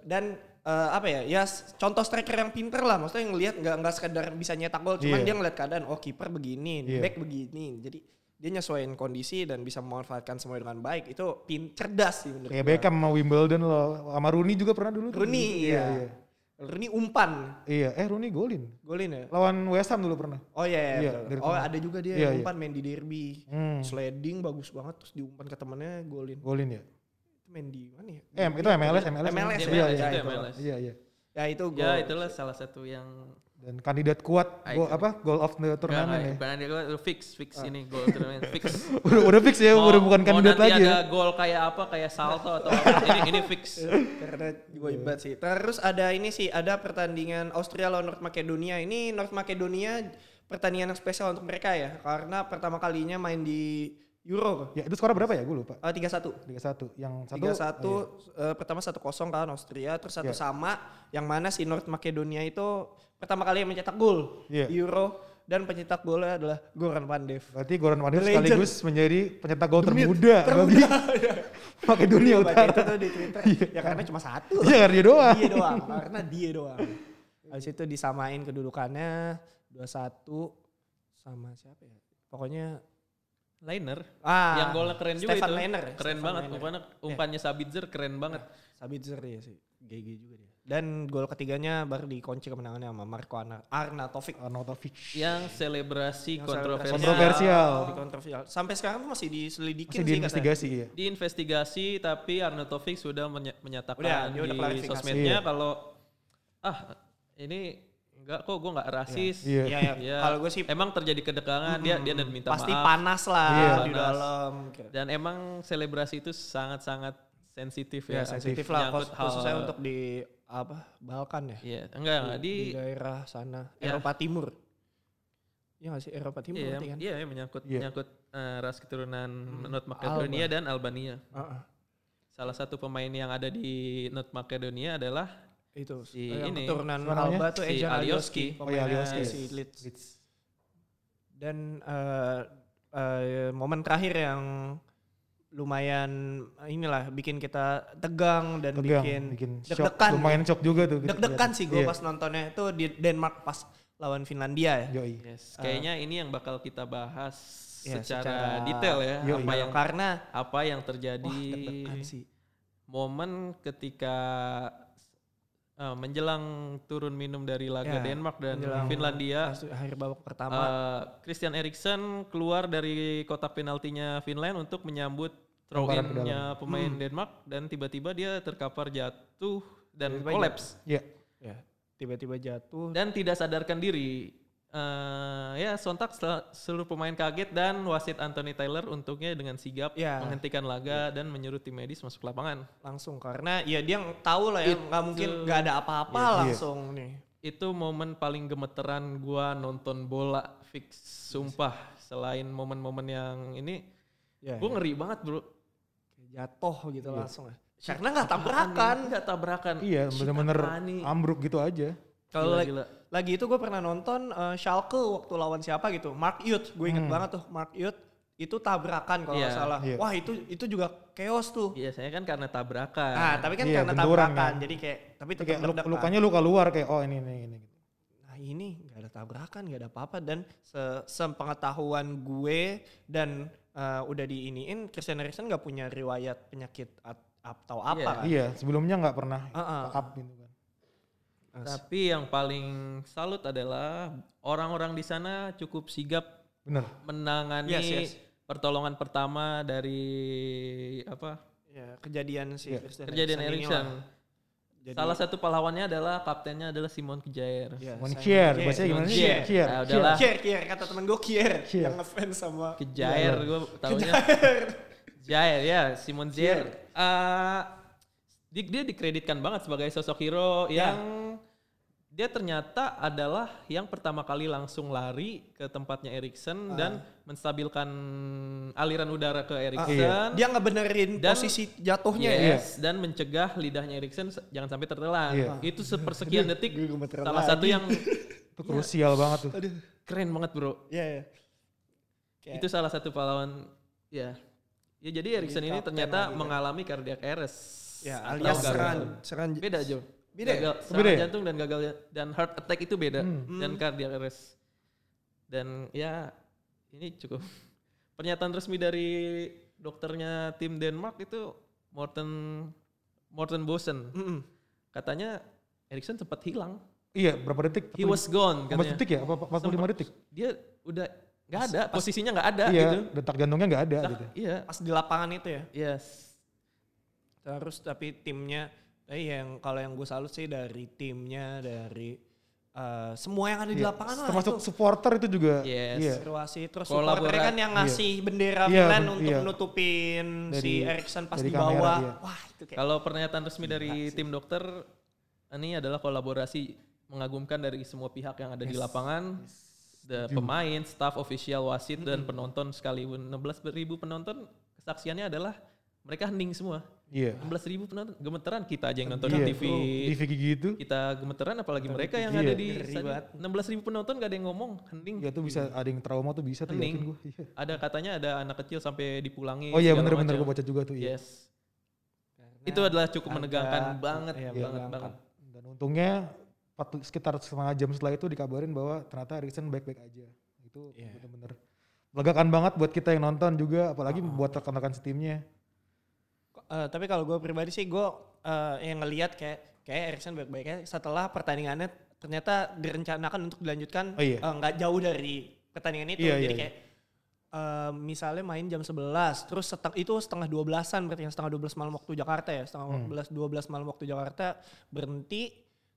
dan eh, apa ya ya s- contoh striker yang pinter lah maksudnya yang ngelihat nggak nggak sekedar bisa nyetak gol cuman Iya. dia ngeliat keadaan oh kiper begini Iya. back begini jadi dia nyesuaiin kondisi dan bisa memanfaatkan semua dengan baik itu pin cerdas sih menurut Kayak gua. Ya, Beckham sama Wimbledon loh, sama Rooney juga pernah dulu. tuh. Rooney iya. ya iya. Rooney umpan Iya, eh Rooney golin. golin ya Lawan West Ham dulu pernah. oh iya, iya, Iya, betul. dari oh tengah. ada juga dia Iya, yang iya. umpan main di derby Hmm. sliding bagus banget terus diumpan ke temennya golin Golin ya. itu main di mana ya Eh, itu MLS, MLS. iya, MLS, MLS, iya, itu iya, MLS. Iya, iya. ya itu gol Ya itulah salah satu yang Dan kandidat kuat gol apa? Goal of the Enggak, turnamen ya. Ah. enggak, enggak, enggak, fix, fix ini gol turnamen, fix. [LAUGHS] udah, udah fix ya, Mau- udah bukan mau kandidat nanti lagi ada ya. gol kayak apa, kayak salto atau apa, ini, [LAUGHS] ini fix. karena gue Iya. hebat sih. Terus ada ini sih, ada pertandingan Austria lawan North Makedonia. Ini North Makedonia pertandingan yang spesial untuk mereka ya, karena pertama kalinya main di Euro. Ya, itu skor berapa ya? Gue lupa. Eh, 3-1. 3-1. Yang satu Oh, 3-1 eh, pertama 1-0 kan Austria, terus satu Iya. sama yang mana si North Makedonia itu pertama kali mencetak gol Iya. di Euro dan pencetak golnya adalah Goran Pandev. [LAUGHS] berarti Goran Pandev The legend. sekaligus menjadi pencetak gol termuda, bagi [LAUGHS] [LAUGHS] Iya, Makedonia Baca itu Utara. tuh di Twitter. ya karena cuma satu. Iya, karena dia doang. dia [LAUGHS] doang karena dia doang habis itu disamain kedudukannya 21 sama siapa ya pokoknya Liner, ah yang golnya keren juga Stefan itu. Lehner ya, keren Stefan banget, Lehner. umpannya, umpannya Sabitzer keren banget. Sabitzer ya sih GG juga dia dan gol ketiganya baru dikunci kemenangannya sama Marco Arna- Arnautovic Arnautovic. Yang selebrasi Yang kontroversial. Kontroversial. kontroversial sampai sekarang tuh masih Masih diselidikin sih katanya. diinvestigasi ya. Diinvestigasi tapi Arnautovic sudah menya- menyatakan Udah, dia di udah klarifikasi. sosmednya Iya. kalau ah ini enggak kok gue nggak rasis. Iya. Iya, iya. Ya, kalau gue sih hmm, emang terjadi kedekangan Eh, dia dia dan minta pasti maaf. panas lah Iya. di Panas. Iya, dalam Dan emang selebrasi itu sangat-sangat sensitif ya ya. sensitif lah Menyangkut khus- hal- khususnya untuk di apa Balkan ya Iya, enggak enggak di, di daerah sana Ya. Eropa Timur Iya gak sih Eropa Timur iya, berarti kan Hmm. iya, iya, menyangkut Iya. menyangkut eh, ras keturunan North Makedonia dan Albania. Heeh. Salah satu pemain yang ada di North Makedonia adalah itu Si yang ini, keturunan siapa namanya? Alba tuh Si Ejan Alioski. Alioski Oh iya, pemainnya Alioski. si Leeds. Leeds. dan eh, eh, momen terakhir yang lumayan eh, inilah bikin kita tegang dan Tegang, bikin, bikin shock. deg-degan gitu. Lumayan shock juga tuh. kita deg-degan lihat. sih gue Iya. pas nontonnya itu di Denmark pas lawan Finlandia ya Yoi. Iya, Yes, kayaknya ini yang bakal kita bahas Ya, secara, Ah. secara- detail ya, Yoi. iya. apa yang karena apa yang wah terjadi deg-degan sih momen ketika eh, menjelang turun minum dari Ya, laga Denmark dan menjelang- Finlandia, Pas akhir babak pertama eh, Christian Eriksen keluar dari kotak penaltinya Finland untuk menyambut throw Lemparan ke in-nya pemain Hmm. Denmark dan tiba-tiba dia terkapar jatuh dan Tiba-tiba kolaps Iya. ya tiba-tiba jatuh dan tidak sadarkan diri. Eh, ya sontak sel- seluruh pemain kaget dan wasit Anthony Taylor untungnya dengan sigap Ya. menghentikan laga dan menyuruh tim medis masuk lapangan. Iya, langsung karena ya dia ng- tahu lah ya nggak mungkin nggak ada apa-apa langsung nih itu momen paling gemeteran gua nonton bola fix sumpah selain momen-momen yang ini Ya, gua ngeri banget bro jatuh gitu langsung ya. Karena nggak tabrakan. nggak tabrakan Iya, Shit, bener-bener apaan nih? ambruk gitu aja. Kalau Gila, lagi, gila. lagi itu gue pernah nonton eh, Schalke waktu lawan siapa gitu, Mark Youth, gue inget banget tuh Mark Youth itu tabrakan kalau nggak Iya. salah. Hmm. Iya. Wah itu itu juga chaos tuh. biasanya kan karena tabrakan Nah tapi kan Iya, karena benturan tabrakan, kan. jadi kayak tapi Itu tetap Kayak lu- deg-degan. lukanya luka luar kayak oh ini ini ini. Nah ini nggak ada tabrakan, nggak ada apa-apa dan se sepengetahuan gue dan eh, udah diiniin Christian Eriksen nggak punya riwayat penyakit at- atau apa kan. Iya, sebelumnya nggak pernah Heeh. up gitu kan. tapi yang paling salut adalah orang-orang di sana cukup sigap Bener. menangani Yes, yes. pertolongan pertama dari apa Ya, kejadian si Iya. Christian kejadian Eriksen Erikson. inilah. Jadi- Salah satu pahlawannya adalah kaptennya adalah Simon Kejair. Ya, Mon Simon Kier, Kier. bahasanya gimana sih? Kier. Kier. Kier. Ah, udahlah. Kier, Kier, kata temen gue Kier, Kier. yang ngefans sama Kejair gue tahunya. Jair ya, Simon Jair. Eh, di- dia dikreditkan banget sebagai sosok hero Ya. yang dia ternyata adalah yang pertama kali langsung lari ke tempatnya Erikson Ah. dan menstabilkan aliran udara ke Erikson. Dia ngebenerin Dan- Iya, posisi jatuhnya ya. Yes, dan mencegah lidahnya Erikson se- jangan sampai tertelan. Iya. Itu [LAUGHS] sepersekian detik gue gemeteran salah satu yang Itu Iya. krusial banget tuh. Aduh, keren banget, Bro. ya Iya, ya. Kayak- Itu salah satu pahlawan ya. Ya jadi Erikson ini kapten lagi ternyata kan. mengalami cardiac arrest. ya atau alias gagal seran, jantung. seran. Beda, Jo. Beda ya? Gagal, serangan Beda ya? jantung dan gagal dan heart attack itu beda dan cardiac arrest. Dan ya ini cukup [LAUGHS] pernyataan resmi dari dokternya tim Denmark itu Morten Morten Bosen. Mm-mm. katanya Erikson sempat hilang. Iya, berapa detik? He was gone 14 katanya. detik ya? Apa 45 detik? Dia udah nggak ada, posisinya nggak ada iya, gitu. detak jantungnya nggak ada Nah, gitu. Iya. Pas Ya, di lapangan itu ya. Yes. Terus tapi timnya eh yang kalau yang gue salut sih dari timnya dari eh, semua yang ada di Iya, lapangan lah Termasuk itu. supporter itu juga. Yes. Iya. situasi terus Kolaborasi. supporternya kan yang ngasih bendera Iya, Finland ben- untuk iya. nutupin si Dari- Erikson pas dari dibawa. kamera iya. dia. Wah, itu kayak Kalau pernyataan resmi dari tim dokter ini adalah kolaborasi mengagumkan dari semua pihak yang ada di lapangan. The pemain, staff, official, wasit dan penonton sekalipun 16.000 penonton kesaksiannya adalah mereka hening semua. Iya. 16.000 penonton gemeteran kita aja yang nonton Iya. di TV. Di gigi gitu. kita gemeteran apalagi mereka yang Iya. ada di Ngeri banget. 16 ribu penonton gak ada yang ngomong hening Ya tuh bisa ada yang trauma tuh bisa tuh yakin Hening. gue. Iya. ada katanya ada anak kecil sampai dipulangin Oh iya segala bener-bener macam. gue baca juga tuh. Iya. yes itu adalah cukup agak- menegangkan banget iya, banget menegangkan. banget Dan untungnya empat- sekitar setengah jam setelah itu dikabarin bahwa ternyata Erikson baik-baik aja. Itu Iya. bener-bener legakan banget buat kita yang nonton juga apalagi buat rekan-rekan setimnya. Eh, tapi kalau gue pribadi sih gue eh, yang ngelihat kayak kayak Erikson baik-baiknya setelah pertandingannya ternyata direncanakan untuk dilanjutkan Oh iya. eh, nggak jauh dari pertandingan itu Iya, jadi iya, kayak eh, misalnya main jam 11 terus seteng- itu setengah 12-an berarti yang setengah 12 malam waktu Jakarta ya setengah Hmm. 12 12 malam waktu Jakarta berhenti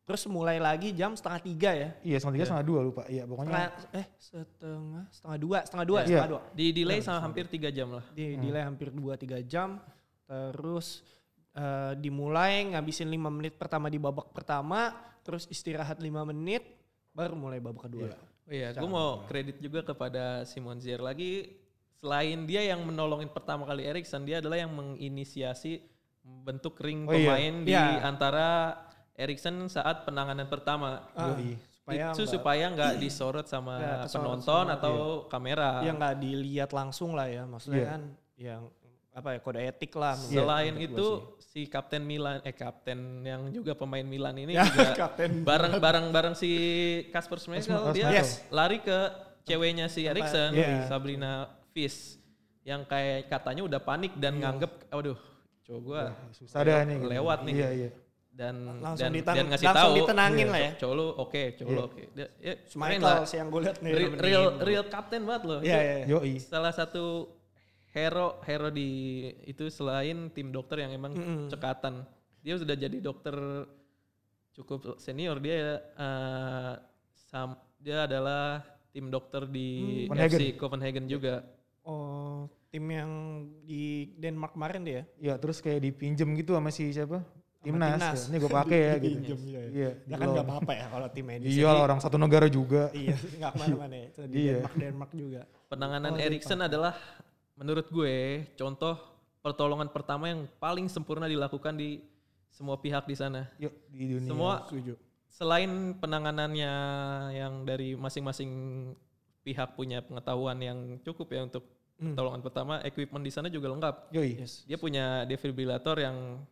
terus mulai lagi jam setengah tiga ya Iya setengah tiga setengah dua lupa. Iya pokoknya setengah eh setengah setengah dua setengah dua Iya. setengah dua di delay sama hampir tiga jam lah di delay hampir 2-3 jam terus eh, dimulai ngabisin 5 menit pertama di babak pertama terus istirahat 5 menit baru mulai babak kedua oh iya gue mau kredit juga kepada Simon Zier lagi selain dia yang menolongin pertama kali Erikson dia adalah yang menginisiasi bentuk ring Oh iya. pemain di Iya. antara Erikson saat penanganan pertama Yoi. Ah, supaya itu nggak- supaya [CLEARS THROAT] nggak disorot sama Ya, kesorot penonton sama, atau kamera. ya nggak dilihat langsung lah ya maksudnya Iya. kan yang apa ya kode etik lah menurut- Iya, Selain menurut itu gua si kapten Milan eh kapten yang juga pemain Milan ini [LAUGHS] Ya, juga kapten bareng bareng bareng si Kasper Schmeichel Kasper dia Schmeichel. lari ke ceweknya si Erikson Iya. Sabrina Fish yang kayak katanya udah panik dan Iya. nganggep aduh cowok gua susah dah nih. gitu. lewat nih. Iya iya. dan Langsung dan, ditang- dan ngasih langsung tahu ditenangin "Iya, lah ya." cowok lu oke cowok lu oke Dia- ya, sih. keren Michael lah. sih yang gue lihat nih real nemenin. real, real kapten banget loh gitu. Iya, iya, iya. Yoi. salah satu hero hero di itu selain tim dokter yang emang cekatan dia sudah jadi dokter cukup senior dia eh, sam- dia adalah tim dokter di Hmm. FC Copenhagen. Copenhagen juga oh tim yang di Denmark kemarin dia Iya, Ya terus kayak dipinjem gitu sama si siapa? timnas, timnas. ya. ini gue pakai ya gitu. Pinjem, iya. Iya, Ya kan di nggak loan. apa-apa ya kalau tim medis. Iya lah orang satu negara juga. Iya, [LAUGHS] nggak kemana-mana ya. Di Iya. Denmark, Denmark juga. Oh, Penanganan Erikson adalah menurut gue contoh pertolongan pertama yang paling sempurna dilakukan di semua pihak di sana. Yuk di dunia. Semua Setuju. selain penanganannya yang dari masing-masing pihak punya pengetahuan yang cukup ya untuk Hmm. pertolongan pertama, equipment di sana juga lengkap. Yoi. Yes. Dia punya defibrillator yang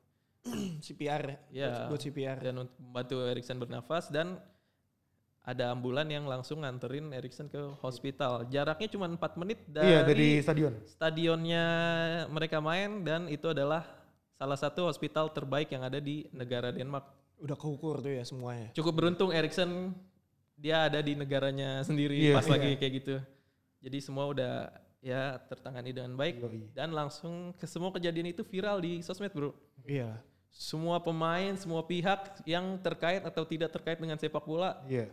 CPR ya. Iya. Buat- Buat CPR. dan untuk membantu Erikson bernafas dan ada ambulan yang langsung nganterin Erikson ke hospital. Jaraknya cuma 4 menit dari, Iya dari stadion. stadionnya mereka main dan itu adalah salah satu hospital terbaik yang ada di negara Denmark. Udah keukur tuh ya semuanya. Cukup beruntung Erikson dia ada di negaranya sendiri Iya, pas lagi kayak gitu. Jadi semua udah ya tertangani dengan baik Yoi. dan langsung ke semua kejadian itu viral di sosmed, Bro. Iya. Semua pemain, semua pihak yang terkait atau tidak terkait dengan sepak bola Iya.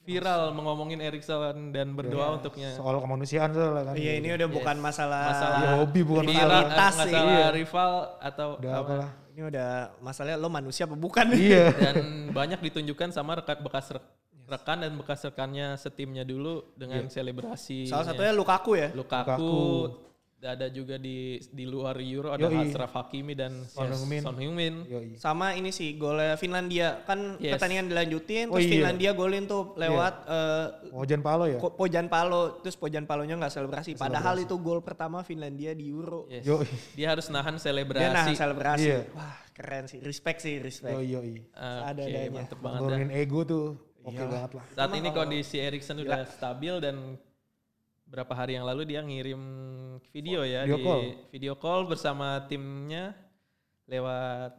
viral mengomongin Erikson dan berdoa untuknya. Soal kemanusiaan soalnya kan. Iya ini udah bukan masalah. Masalah Iya, hobi bukan viral, masalah. eh, masalah Iya. rival atau Udah apa. apalah. Ini udah masalah lo manusia apa bukan? [LAUGHS] [LAUGHS] Iya. dan banyak ditunjukkan sama rekan bekas rek- rekan dan bekas rekannya setimnya dulu dengan selebrasi Salah satunya Lukaku ya. Lukaku, Lukaku. ada juga di di luar Euro ada Yoi. Ashraf Hakimi dan Son Heung-min. Son Heung-min. Yoi. Sama ini sih golnya Finlandia kan Yes. pertandingan dilanjutin Oh terus iya. Finlandia golin tuh lewat eh, Ojan Palo ya. Ko- Pojan Palo terus Pojan Palonya nggak selebrasi. Padahal itu gol pertama Finlandia di Euro. Yes. Yoi. Dia harus Dia nahan nahan selebrasi. selebrasi. Iya. Wah keren sih, respect sih respect. Yoi yoi. Ah, Oke, Seadanya. mantep banget dah. Nurunin ego tuh oke Iya. banget lah. Saat ini kondisi Iya. Erikson udah stabil dan berapa hari yang lalu dia ngirim video ya Video di call. video call bersama timnya lewat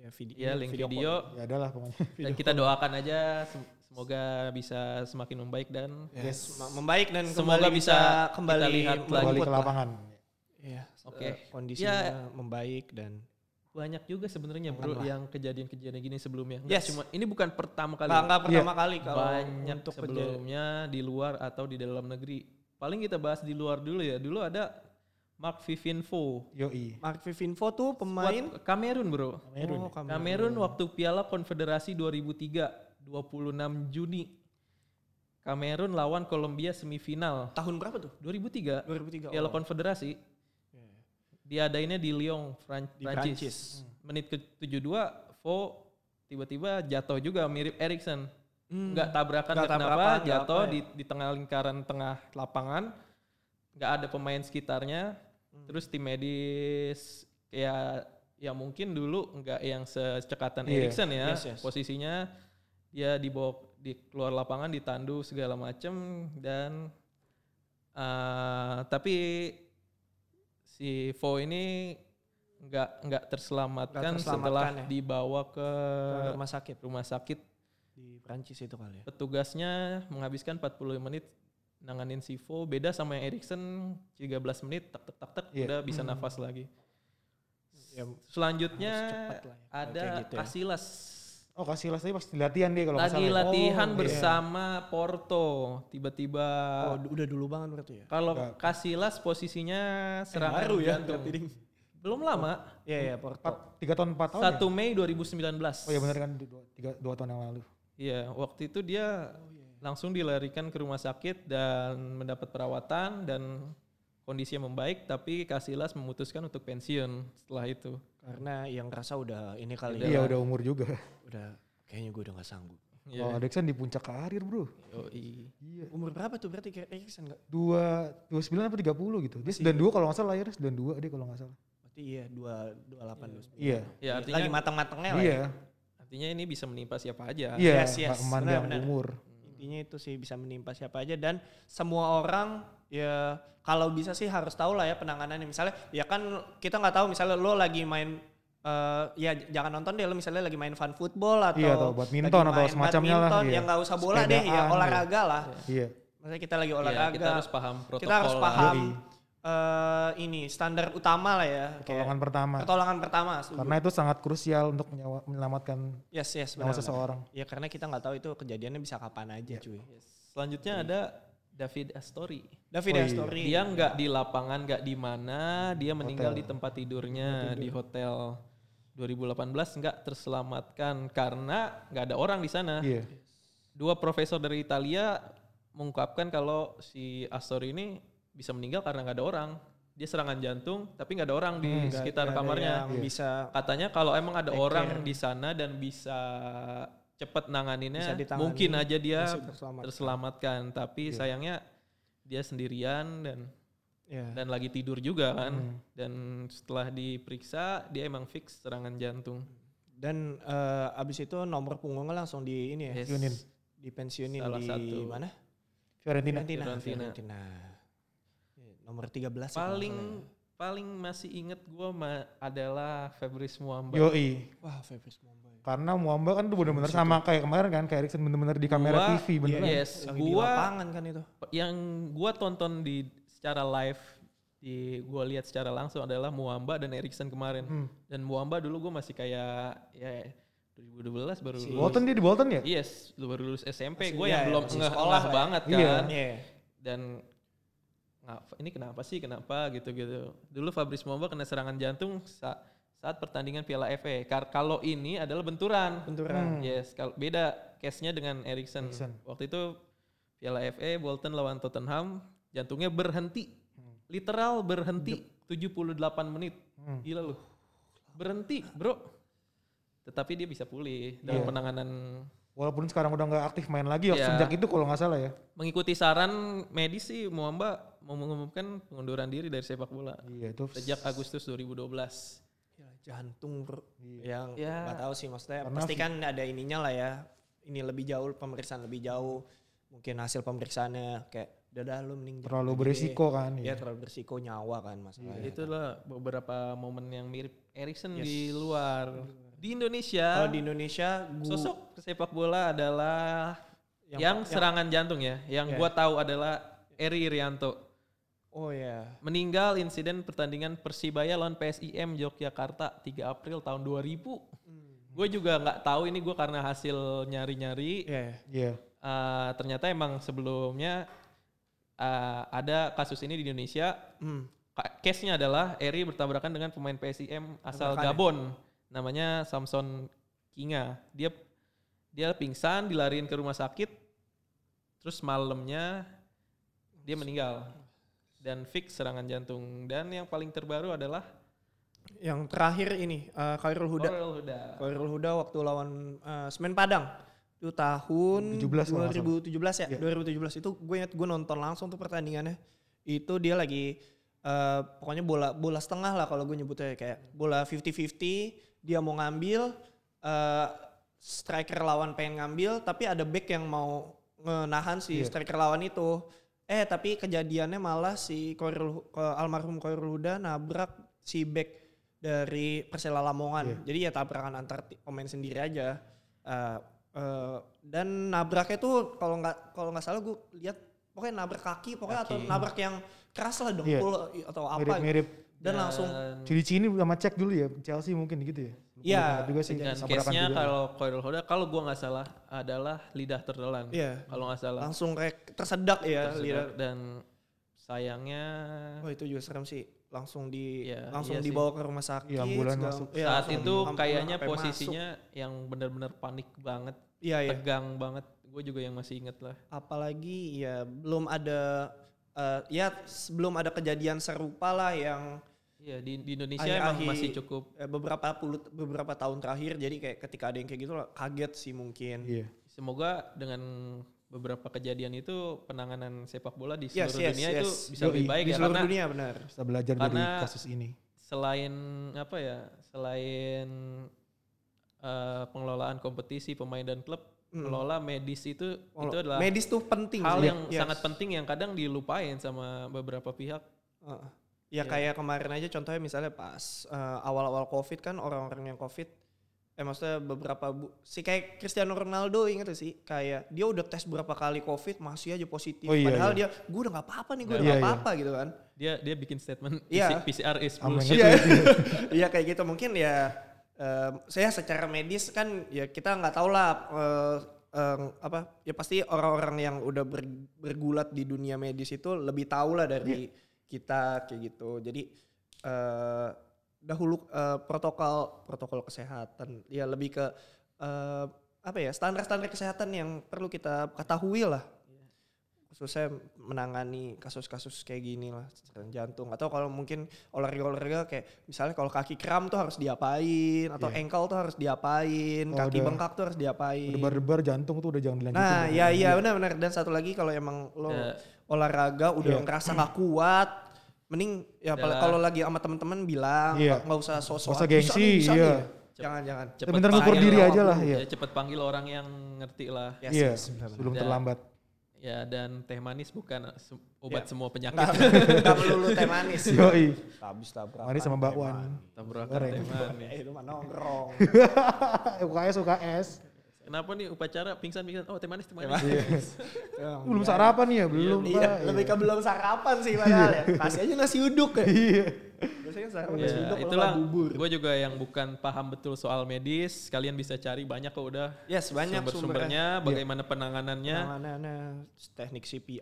Ya, vid- ya link video, Ya adalah [LAUGHS] pokoknya. dan kita doakan aja sem- semoga bisa semakin membaik dan Ya, sem- membaik dan Semoga kembali bisa bisa kembali kita lihat lagi. Kembali meliput ke lah. lapangan. Iya, Oke. Ya. eh, kondisinya membaik dan banyak juga sebenarnya bro yang kejadian-kejadian gini sebelumnya. Nggak Yes. cuma ini bukan pertama kali. nggak nggak pertama kali kalau Iya. banyak untuk kejadian. sebelumnya di luar atau di dalam negeri. Paling kita bahas di luar dulu ya. Dulu ada Mark Vivinfo. Yoi. Mark Vivinfo tuh pemain Buat Kamerun bro. Kamerun. Oh, Kamerun. Kamerun waktu Piala Konfederasi 2003 26 Juni. Kamerun lawan Kolombia semifinal tahun berapa tuh? 2003 2003. oh. Piala Konfederasi. Ya, Diadainnya di Lyon, Fran- ya. Di Prancis. Prancis. Menit ke-72 Fo tiba-tiba jatuh juga mirip Erikson. Hmm. Nggak tabrakan Nggak nggak kenapa, tabrakan, nggak jatuh apa ya. di, di tengah lingkaran tengah lapangan. Nggak ada pemain sekitarnya. Hmm. Terus tim medis ya ya mungkin dulu nggak yang secekatan Iya. Erikson ya Yes, yes. posisinya dia dibawa di keluar lapangan ditandu segala macem dan eh, tapi si Fo ini nggak nggak Nggak terselamatkan, setelah terselamatkan ya. dibawa ke Eh, Ke rumah sakit rumah sakit di Prancis itu kali ya. petugasnya menghabiskan 40 menit nanganin si Fo beda sama yang Erikson 13 menit tak tak tak tak Iya. udah bisa nafas lagi Ya, selanjutnya Hmm. Harus cepat lah ya, ada kayak gitu ya. Casillas Oh kasih lah, tapi pasti latihan dia kalau nggak lagi salah. ya. latihan iya. bersama Porto tiba-tiba oh, du- udah dulu banget berarti ya. kalau Nggak. Casillas posisinya serangan Baru ya jantung. berarti ding. belum lama Iya iya Porto. Empat- Tiga tahun empat iya. tahun. 1 ya? Mei 2019 Oh ya benar kan dua, tiga, dua tahun yang lalu. Iya, waktu itu dia Oh, iya, langsung dilarikan ke rumah sakit dan mendapat perawatan dan kondisinya membaik, tapi Casillas memutuskan untuk pensiun setelah itu. Karena yang rasa udah ini kali Iya ya. udah umur juga. Udah kayaknya gue udah gak sanggup. Iya. Oh Erikson di puncak karir bro. Yoi. Iya. Umur berapa tuh berarti kayak Erikson nggak? Dua, dua sembilan apa tiga puluh gitu. Dia sembilan dua kalau nggak salah lahirnya sembilan dua dia kalau nggak salah. Berarti iya 2 28 Iya. Ya Lagi artinya, matang-matangnya lah. Iya. ya. artinya ini bisa menimpa siapa aja. Iya. Yes, yes. nggak memandang Benar, benar. umur. Intinya itu sih bisa menimpa siapa aja dan semua orang ya kalau bisa sih harus tahu lah ya penanganannya. Misalnya ya kan kita nggak tahu misalnya lo lagi main eh, ya j- jangan nonton deh lo misalnya lagi main fun football atau, Iya, atau badminton lagi atau main semacamnya lah, badminton, iya. yang nggak usah bola deh ya Sepedaan, olahraga lah. Iya. Maksudnya kita lagi Iya, olahraga. kita harus paham protokol. kita harus lah. paham Yoi. eh, ini standar utama lah ya kayak Pertolongan pertama. pertolongan pertama setuju. Karena itu sangat krusial untuk menyawa- menyelamatkan yes yes nyawa benar seseorang. ya karena kita nggak tahu itu kejadiannya bisa kapan Ya. aja cuy Yes. Selanjutnya ada David Astori. David Oh, ya iya. story Dia nggak di lapangan, nggak di mana, dia meninggal di tempat tidurnya di hotel. 2018 nggak terselamatkan karena nggak ada orang di sana. Iya. Dua profesor dari Italia mengungkapkan kalau si Astor ini bisa meninggal karena nggak ada orang. Dia serangan jantung, tapi nggak ada orang di Hmm, Nggak- sekitar nggak ada kamarnya. yang Iya. bisa Katanya kalau emang ada Take orang care. di sana dan bisa cepet nanganinnya, Bisa ditangani, Iya. mungkin aja dia masih terselamatkan. terselamatkan. Tapi sayangnya dia sendirian dan ya. dan lagi tidur juga kan. Hmm. Dan setelah diperiksa dia emang fix serangan jantung. Dan eh, abis itu nomor punggungnya langsung di ini ya, Yes. Yunin. dipensiunin Salah di satu. mana? Fiorentina. Fiorentina. Fiorentina. Fiorentina. Ya, Nomor 13 ya kalau nggak Paling salah paling masih inget gue adalah Fabrice Muamba. Yoi. ya. wah Fabrice Mumbai. Karena Muamba kan tuh bener-bener sama kayak kemarin kan, kayak Erikson bener-bener di kamera Gua- Iya, TV bener kan? Yes, Lagi di gua lapangan kan itu. yang gua tonton di secara live di gua lihat secara langsung adalah Muamba dan Erikson kemarin. Dan Muamba dulu gua masih kayak ya 2012 baru lulus. Bolton dia di Bolton Iya. ya? Yes, lu baru lulus SMP. Masih- iya, Gue yang iya, belum masih ngeh sekolah ngeh lah ya. banget kan. Iya. Iya. Dan ngapa ini kenapa sih? Kenapa gitu-gitu. Dulu Fabrice Muamba kena serangan jantung sa- saat pertandingan Piala FA. Kar- kalau ini adalah benturan. Benturan. Yes, kalau beda case-nya dengan Erikson. Erikson. Waktu itu Piala FA Bolton lawan Tottenham, jantungnya berhenti. Hmm. Literal berhenti 78 menit. Hmm. Gila lu. Berhenti, Bro. Tetapi dia bisa pulih Iya. dalam penanganan Walaupun sekarang udah nggak aktif main lagi ya, Iya. sejak itu kalau nggak salah ya. mengikuti saran medis sih Muamba mau mengumumkan pengunduran diri dari sepak bola Iya itu. sejak Agustus 2012. Ya, jantung bro. yang Ya. nggak tahu Iya. sih maksudnya Karena pasti kan ada ininya lah ya ini lebih jauh pemeriksaan lebih jauh mungkin hasil pemeriksaannya kayak dadah lu mending jangan Terlalu aja deh." berisiko kan, ya iya. terlalu berisiko nyawa kan masalahnya Itulah beberapa momen yang mirip Erikson di luar. Di Indonesia kalau di Indonesia gua sosok sepak bola adalah yang, serangan jantung ya. Yang gua tahu adalah Eri Irianto. oh ya Meninggal insiden pertandingan Persibaya lawan PSIM Yogyakarta 3 April tahun 2000. Hmm. Gue juga nggak tahu ini gue karena hasil nyari-nyari. ya Iya. Eh, ternyata emang sebelumnya eh, ada kasus ini di Indonesia. Hmm. Ka- Case-nya adalah Eri bertabrakan dengan pemain PSIM asal Tabrakan ya? Gabon, namanya Samson Kinga. Dia dia pingsan, dilariin ke rumah sakit. Terus malamnya dia meninggal dan fix serangan jantung. Dan yang paling terbaru adalah yang terakhir ini eh, Khairul Huda Orel Huda. Khairul Huda waktu lawan eh, Semen Padang itu tahun 17 kalau nggak Iya. 2017 ya 2017 itu gue ingat gue nonton langsung tuh pertandingannya itu dia lagi eh, pokoknya bola bola setengah lah kalau gue nyebutnya kayak bola 50-50 dia mau ngambil eh, striker lawan pengen ngambil tapi ada back yang mau nahan si Iya. striker lawan itu eh tapi kejadiannya malah si Koirul, Ko- almarhum Koirul Huda nabrak si back dari Persela Iya. Lamongan. Jadi ya tabrakan antar ti- pemain sendiri aja. Eh, eh, dan nabraknya tuh kalau nggak kalau nggak salah gue lihat pokoknya nabrak kaki pokoknya atau nabrak yang keras lah Iya. dengkul atau apa Mirip-mirip. dan langsung Cini-cini sama cek dulu ya, Chelsea mungkin gitu ya. Iya, Lupa Juga sih. Dan sama Brakan ya? case-nya juga. kalau Khairul Huda, kalau gua nggak salah adalah lidah tertelan. Iya. Kalau nggak salah. langsung kayak tersedak ya lidah. Tersedak. Dan sayangnya Wah itu juga serem sih langsung di Iya, langsung iya sih. dibawa ke rumah sakit. Iya, ambulan segala- masuk. iya, saat langsung itu ambulan kayaknya sampai masuk. posisinya yang benar-benar panik banget, Iya iya. tegang banget. Gue juga yang masih inget lah. apalagi ya belum ada eh, ya sebelum ada kejadian serupa lah yang Iya di, di Indonesia Akhir-akhir- emang masih cukup eh, beberapa puluh beberapa tahun terakhir jadi kayak ketika ada yang kayak gitu lah, kaget sih mungkin Iya. Semoga dengan beberapa kejadian itu penanganan sepak bola di Yes, seluruh yes, dunia yes. itu bisa Yoi, lebih baik di ya seluruh karena dunia benar Bisa belajar dari Karena- kasus ini. selain apa ya selain eh, pengelolaan kompetisi pemain dan klub mengelola medis itu itu adalah Hmm. medis tuh penting hal sih. yang Yes. sangat penting yang kadang dilupain sama beberapa pihak. Heeh. ya kayak kemarin aja contohnya misalnya pas eh, awal-awal covid kan orang-orang yang covid eh maksudnya beberapa bu si kayak Cristiano Ronaldo inget gak sih kayak dia udah tes berapa kali covid masih aja positif Oh iya, padahal dia gue udah nggak apa-apa nih Iya, gue udah nggak iya. apa-apa gitu kan Dia dia bikin statement Iya. "PC- PCR is Amin. bullshit. Iya. [LAUGHS] Iya kayak gitu mungkin ya em, saya secara medis kan ya kita nggak tahu lah eh, em, apa ya pasti orang-orang yang udah ber- bergulat di dunia medis itu lebih tahu lah dari kita kayak gitu jadi eh, dahulu eh, protokol protokol kesehatan ya lebih ke eh, apa ya standar-standar kesehatan yang perlu kita ketahui lah khususnya menangani kasus-kasus kayak gini lah serangan jantung atau kalau mungkin olahraga-olahraga kayak misalnya kalau kaki kram tuh harus diapain atau Iya. engkel tuh harus diapain Kalau kaki udah bengkak tuh harus diapain Debar-debar jantung tuh udah jangan dilanjutin. nah ya iya benar-benar dan satu lagi kalau emang lo Ya, olahraga udah Iya. ngerasa nggak kuat mending ya apalagi Udah. kalau lagi sama teman-teman bilang Iya. nggak nggak usah sosok Nggak usah gengsi, iya. jangan jangan cepet Bentar ngukur panggil diri orang- aja lah, iya. ya, cepet panggil orang yang ngerti lah Yes, Iya, yes, benar, benar. sebelum Udah. [LAUGHS] terlambat. ya dan teh manis bukan eh, se- obat Iya. semua nggak penyakit [LAUGHS] nggak melulu teh manis Yoi. habis tabrakan Manis sama teh bakwan. [LAUGHS] [LAUGHS] manis. tabrakan Goreng. teh manis Eh, itu mah nongkrong UKS UKS. Iya. kenapa nih upacara pingsan pingsan oh teh manis teh manis Emang Belum biasa. sarapan ya, belum iya, Pak. lebih ke belum sarapan sih padahal ya kasih aja nasi uduk ya Iya. biasanya sarapan nasi ya, uduk kalau itulah nggak bubur gue juga yang bukan paham betul soal medis kalian bisa cari banyak kok udah yes banyak sumbernya sumber-sumbernya bagaimana penanganannya penanganannya teknik CPR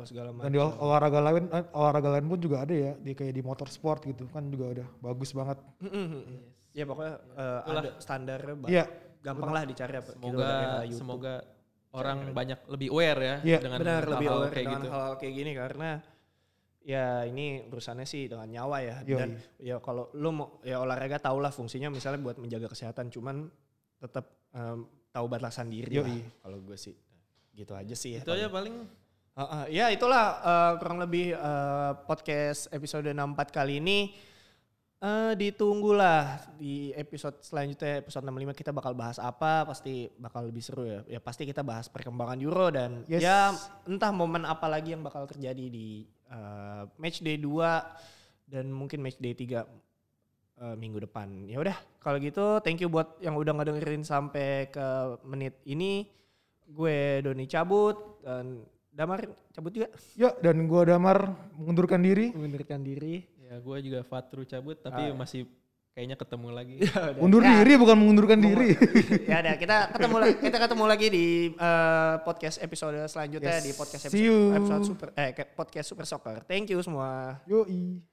Iya. apa segala Dan macam di ol- olahraga lain eh, olahraga lain pun juga ada ya, di kayak di motorsport gitu kan juga udah bagus banget. Ya pokoknya eh, Itulah. ada standarnya ba- Iya. gampang lah dicari apa. gitu semoga dari YouTube. semoga orang banyak lebih aware ya Iya. dengan benar lebih hal-hal aware kayak dengan gitu hal-hal kayak gini karena ya ini urusannya sih dengan nyawa ya Yoi. dan ya kalau lu mau ya olahraga tahulah fungsinya misalnya buat menjaga kesehatan cuman tetap em, tahu batasan diri lah Yoi. kalau gue sih gitu aja sih ya itu aja paling Heeh, ya itulah eh, kurang lebih eh, podcast episode 64 kali ini. Eh, ditunggulah di episode selanjutnya episode 65 kita bakal bahas apa pasti bakal lebih seru ya. Ya pasti kita bahas perkembangan Euro dan Yes. ya entah momen apa lagi yang bakal terjadi di eh, match day 2 dan mungkin match day 3 eh, minggu depan. Ya udah, kalau gitu thank you buat yang udah ngedengerin sampai ke menit ini. Gue Doni cabut dan Damar cabut juga Ya, dan gua Damar mengundurkan diri. [LAUGHS] mengundurkan diri. ya gue juga Fatru cabut tapi masih kayaknya ketemu lagi Undur Iya. diri bukan mengundurkan [LAUGHS] diri. ya udah kita ketemu lagi kita ketemu lagi di eh, podcast episode selanjutnya Yes. di podcast See episode, you. episode super eh ke- podcast super soccer. Thank you semua. Yoi.